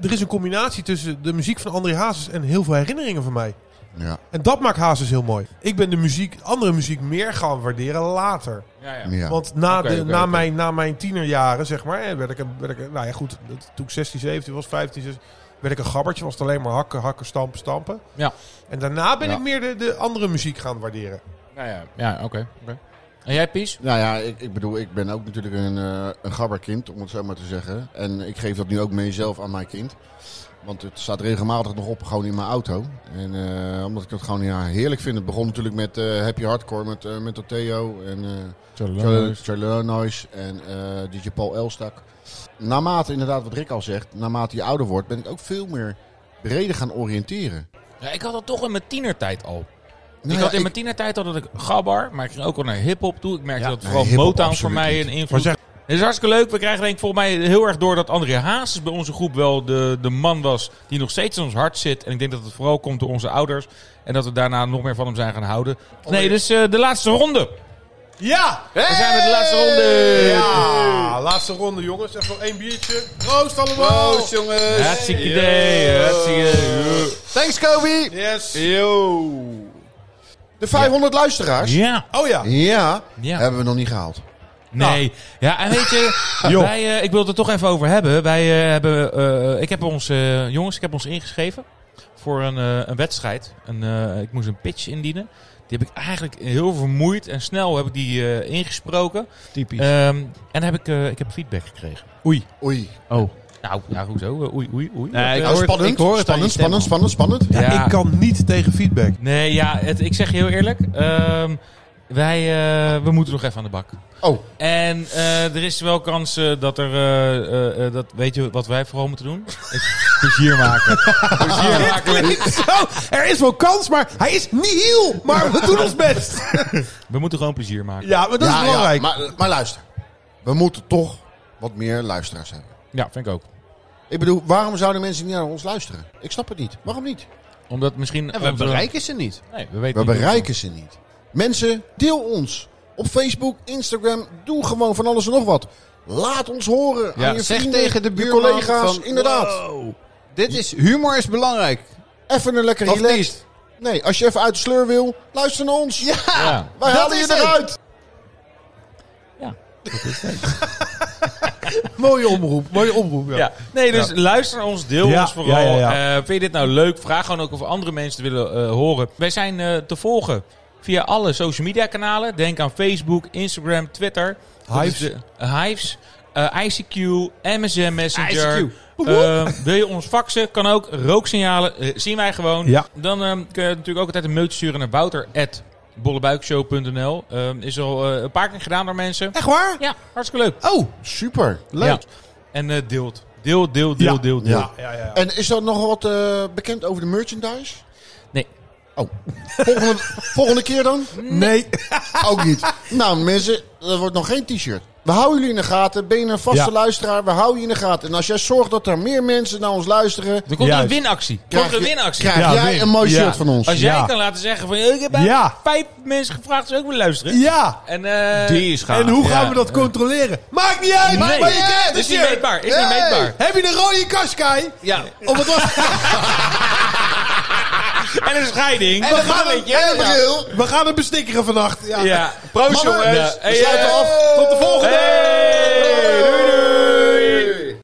Speaker 5: d- er is een combinatie tussen de muziek van André Hazes en heel veel herinneringen van mij.
Speaker 1: Ja,
Speaker 5: En dat maakt Hazes heel mooi. Ik ben de muziek, andere muziek meer gaan waarderen later.
Speaker 3: Ja, ja.
Speaker 1: ja.
Speaker 5: Want na,
Speaker 3: Oké,
Speaker 5: de,
Speaker 3: oké,
Speaker 5: na,
Speaker 3: oké.
Speaker 5: Mijn, na mijn tienerjaren, zeg maar, hè, werd ik, een, werd ik een- nou ja goed, dat- toen ik 16, 17 was, 15, 16, werd ik een gabbertje. Was het alleen maar hakken, hakken, stampen, stampen.
Speaker 3: Ja.
Speaker 5: En daarna ben
Speaker 1: Ja.
Speaker 5: ik meer de, de andere muziek gaan waarderen.
Speaker 3: Nou ja, ja oké. oké. En jij, Pies?
Speaker 1: Nou ja, ik, ik bedoel, ik ben ook natuurlijk een, eh, een gabberkind, om het zo maar te zeggen. En ik geef dat nu ook mee zelf aan mijn kind. Want het staat regelmatig nog op, gewoon in mijn auto. En eh, omdat ik dat gewoon ja, heerlijk vind. Het begon natuurlijk met eh, Happy Hardcore, met, eh met Theo en eh, Charlie Charlie Noise en eh, DJ Paul Elstak. Naarmate, inderdaad, wat Rick al zegt, naarmate je ouder wordt, ben ik ook veel meer breder gaan oriënteren.
Speaker 3: Ja, ik had dat toch in mijn tienertijd al.
Speaker 1: Nou
Speaker 3: ik
Speaker 1: ja,
Speaker 3: had in mijn tienertijd al dat ik gabbar, maar ik ging ook al naar hip-hop toe. Ik merkte
Speaker 4: Ja.
Speaker 3: dat
Speaker 1: Nee,
Speaker 3: vooral
Speaker 1: hiphop
Speaker 3: Motown voor
Speaker 1: absoluut
Speaker 3: mij
Speaker 1: niet.
Speaker 3: een
Speaker 5: Maar
Speaker 3: invloed.
Speaker 5: zeg,
Speaker 3: Het is hartstikke leuk. We krijgen denk ik volgens mij heel erg door dat André Hazes bij onze groep wel de, de man was die nog steeds in ons hart zit. En ik denk dat het vooral komt door onze ouders. En dat we daarna nog meer van hem zijn gaan houden. Nee, dus eh, de laatste ronde.
Speaker 5: ja!
Speaker 3: We zijn met de laatste ronde.
Speaker 5: Ja! Laatste ronde, jongens. Even nog één biertje. Proost allemaal!
Speaker 6: Proost, jongens.
Speaker 3: Hartstikke idee. Hartstikke
Speaker 1: Thanks, Kobe!
Speaker 5: Yes!
Speaker 6: Yo.
Speaker 1: De 500 luisteraars.
Speaker 3: Ja.
Speaker 5: Oh ja!
Speaker 1: Ja,
Speaker 3: Ja.
Speaker 1: hebben we nog niet gehaald.
Speaker 3: Nee. Ja, en weet je, wij, eh, ik wil het er toch even over hebben. Wij eh, hebben, eh, ik heb ons, eh, jongens, ik heb ons ingeschreven voor een, eh, een wedstrijd. Een, eh, ik moest een pitch indienen. Die heb ik eigenlijk heel vermoeid en snel heb ik die eh, ingesproken.
Speaker 4: Typisch.
Speaker 3: Ehm, en heb ik, eh, ik heb feedback gekregen. Oei.
Speaker 1: Oei.
Speaker 4: oh.
Speaker 3: Nou, ja, hoezo? Eh, Oei, oei, oei.
Speaker 4: Nee, ik
Speaker 1: Nou,
Speaker 4: hoor,
Speaker 1: spannend,
Speaker 4: ik hoor het aan je
Speaker 1: spannend,
Speaker 4: stem,
Speaker 1: spannend,
Speaker 4: man.
Speaker 1: spannend, spannend.
Speaker 5: Ja,
Speaker 3: Ja.
Speaker 5: Ik kan niet tegen feedback.
Speaker 3: Nee, ja, het, ik zeg je heel eerlijk. ehm, wij eh, we moeten nog even aan de bak.
Speaker 1: Oh.
Speaker 3: En eh, er is wel kans eh, dat er... eh, eh, eh, dat, weet je wat wij vooral moeten doen? Is plezier maken. plezier maken. met-
Speaker 5: Zo, Oh, er is wel kans, maar hij is niet heel. Maar we doen ons best.
Speaker 3: We moeten gewoon plezier maken.
Speaker 5: Ja, maar dat
Speaker 1: Ja,
Speaker 5: is belangrijk.
Speaker 1: ja, maar, maar luister, we moeten toch wat meer luisteraars hebben.
Speaker 3: Ja, vind ik ook.
Speaker 1: Ik bedoel, waarom zouden mensen niet naar ons luisteren? Ik snap het niet. Waarom niet?
Speaker 3: Omdat misschien...
Speaker 4: En we
Speaker 3: onze-
Speaker 4: bereiken ze niet.
Speaker 3: Nee, we weten
Speaker 1: We
Speaker 3: niet hoe-
Speaker 1: bereiken ze niet. Mensen, deel ons. Op Facebook, Instagram, doe gewoon van alles en nog wat. Laat ons horen
Speaker 4: Ja,
Speaker 1: aan je
Speaker 4: zeg
Speaker 1: vrienden,
Speaker 4: tegen de
Speaker 1: je
Speaker 4: buurman
Speaker 1: collega's.
Speaker 4: van, Oh.
Speaker 1: inderdaad.
Speaker 4: Dit is, humor is belangrijk.
Speaker 1: Even een lekker
Speaker 4: Of
Speaker 1: relaxed.
Speaker 4: niet?
Speaker 1: Nee, als je even uit de sleur wil, luister naar ons. Ja,
Speaker 3: Ja.
Speaker 1: Wij
Speaker 4: dat
Speaker 1: halen
Speaker 4: is
Speaker 1: je
Speaker 4: het.
Speaker 1: eruit.
Speaker 5: Mooie omroep, mooie omroep. Ja.
Speaker 3: Ja. Nee, dus luister naar ons, deel
Speaker 5: Ja,
Speaker 3: ons vooral.
Speaker 5: ja, ja, ja.
Speaker 3: Eh, vind je dit nou leuk? Vraag gewoon ook of andere mensen het willen eh, horen. Wij zijn eh, te volgen via alle social media kanalen. Denk aan Facebook, Instagram, Twitter. Dat
Speaker 5: Hives.
Speaker 3: is de- Hives. eh, ICQ, MSN Messenger.
Speaker 4: ICQ.
Speaker 3: Eh, wil je ons faxen? Kan ook. Rooksignalen eh, zien wij gewoon.
Speaker 5: Ja.
Speaker 3: Dan ehm, kun je natuurlijk ook altijd een mailtje sturen naar wouter.bollebuikshow.nl. Ehm, is al eh, een paar keer gedaan door mensen.
Speaker 5: Echt waar?
Speaker 3: Ja, hartstikke leuk.
Speaker 5: Oh,
Speaker 1: Super.
Speaker 3: Ja. En eh, deelt. Deel, deel, deel,
Speaker 5: Ja.
Speaker 3: deel, deel.
Speaker 1: Ja.
Speaker 5: Ja, ja, ja.
Speaker 1: En is er nog wat eh, bekend over de merchandise?
Speaker 3: Nee.
Speaker 1: Oh. Volgende, volgende keer dan?
Speaker 5: Nee.
Speaker 1: Ook niet. Nou mensen, er wordt nog geen t-shirt. We houden jullie in de gaten. Ben je een vaste
Speaker 5: Ja.
Speaker 1: luisteraar? We houden je in de gaten. En als jij zorgt dat er meer mensen naar ons luisteren...
Speaker 3: Er komt
Speaker 5: Juist.
Speaker 3: een winactie. Er
Speaker 1: Krijg
Speaker 3: komt een
Speaker 1: je-
Speaker 3: winactie.
Speaker 1: krijg
Speaker 5: Ja,
Speaker 1: jij
Speaker 5: win.
Speaker 1: een mooi
Speaker 5: Ja.
Speaker 1: shirt van ons.
Speaker 3: Als jij
Speaker 5: Ja.
Speaker 3: kan laten zeggen van... Ik heb aan
Speaker 5: Ja.
Speaker 3: vijf mensen gevraagd, dus ook willen luisteren.
Speaker 5: Ja.
Speaker 3: En, eh,
Speaker 4: Die is gaaf.
Speaker 5: En hoe gaan
Speaker 3: ja.
Speaker 5: we dat controleren? Maakt niet uit.
Speaker 3: Nee,
Speaker 5: maar je krijgt
Speaker 3: is
Speaker 5: een
Speaker 3: niet
Speaker 5: shirt.
Speaker 3: meetbaar. Is niet meetbaar.
Speaker 5: Heb je de rode kaskai?
Speaker 3: Ja.
Speaker 5: Of wat was
Speaker 8: En een scheiding.
Speaker 4: We gaan, hem,
Speaker 9: Jij bril!
Speaker 4: we gaan hem bestikkeren vannacht. Ja.
Speaker 8: Ja.
Speaker 3: Proost,
Speaker 9: Mannen,
Speaker 8: Ja.
Speaker 3: jongens. eh. We
Speaker 8: Hey,
Speaker 3: sluiten
Speaker 8: hey.
Speaker 3: af. Tot de volgende!
Speaker 8: Hey.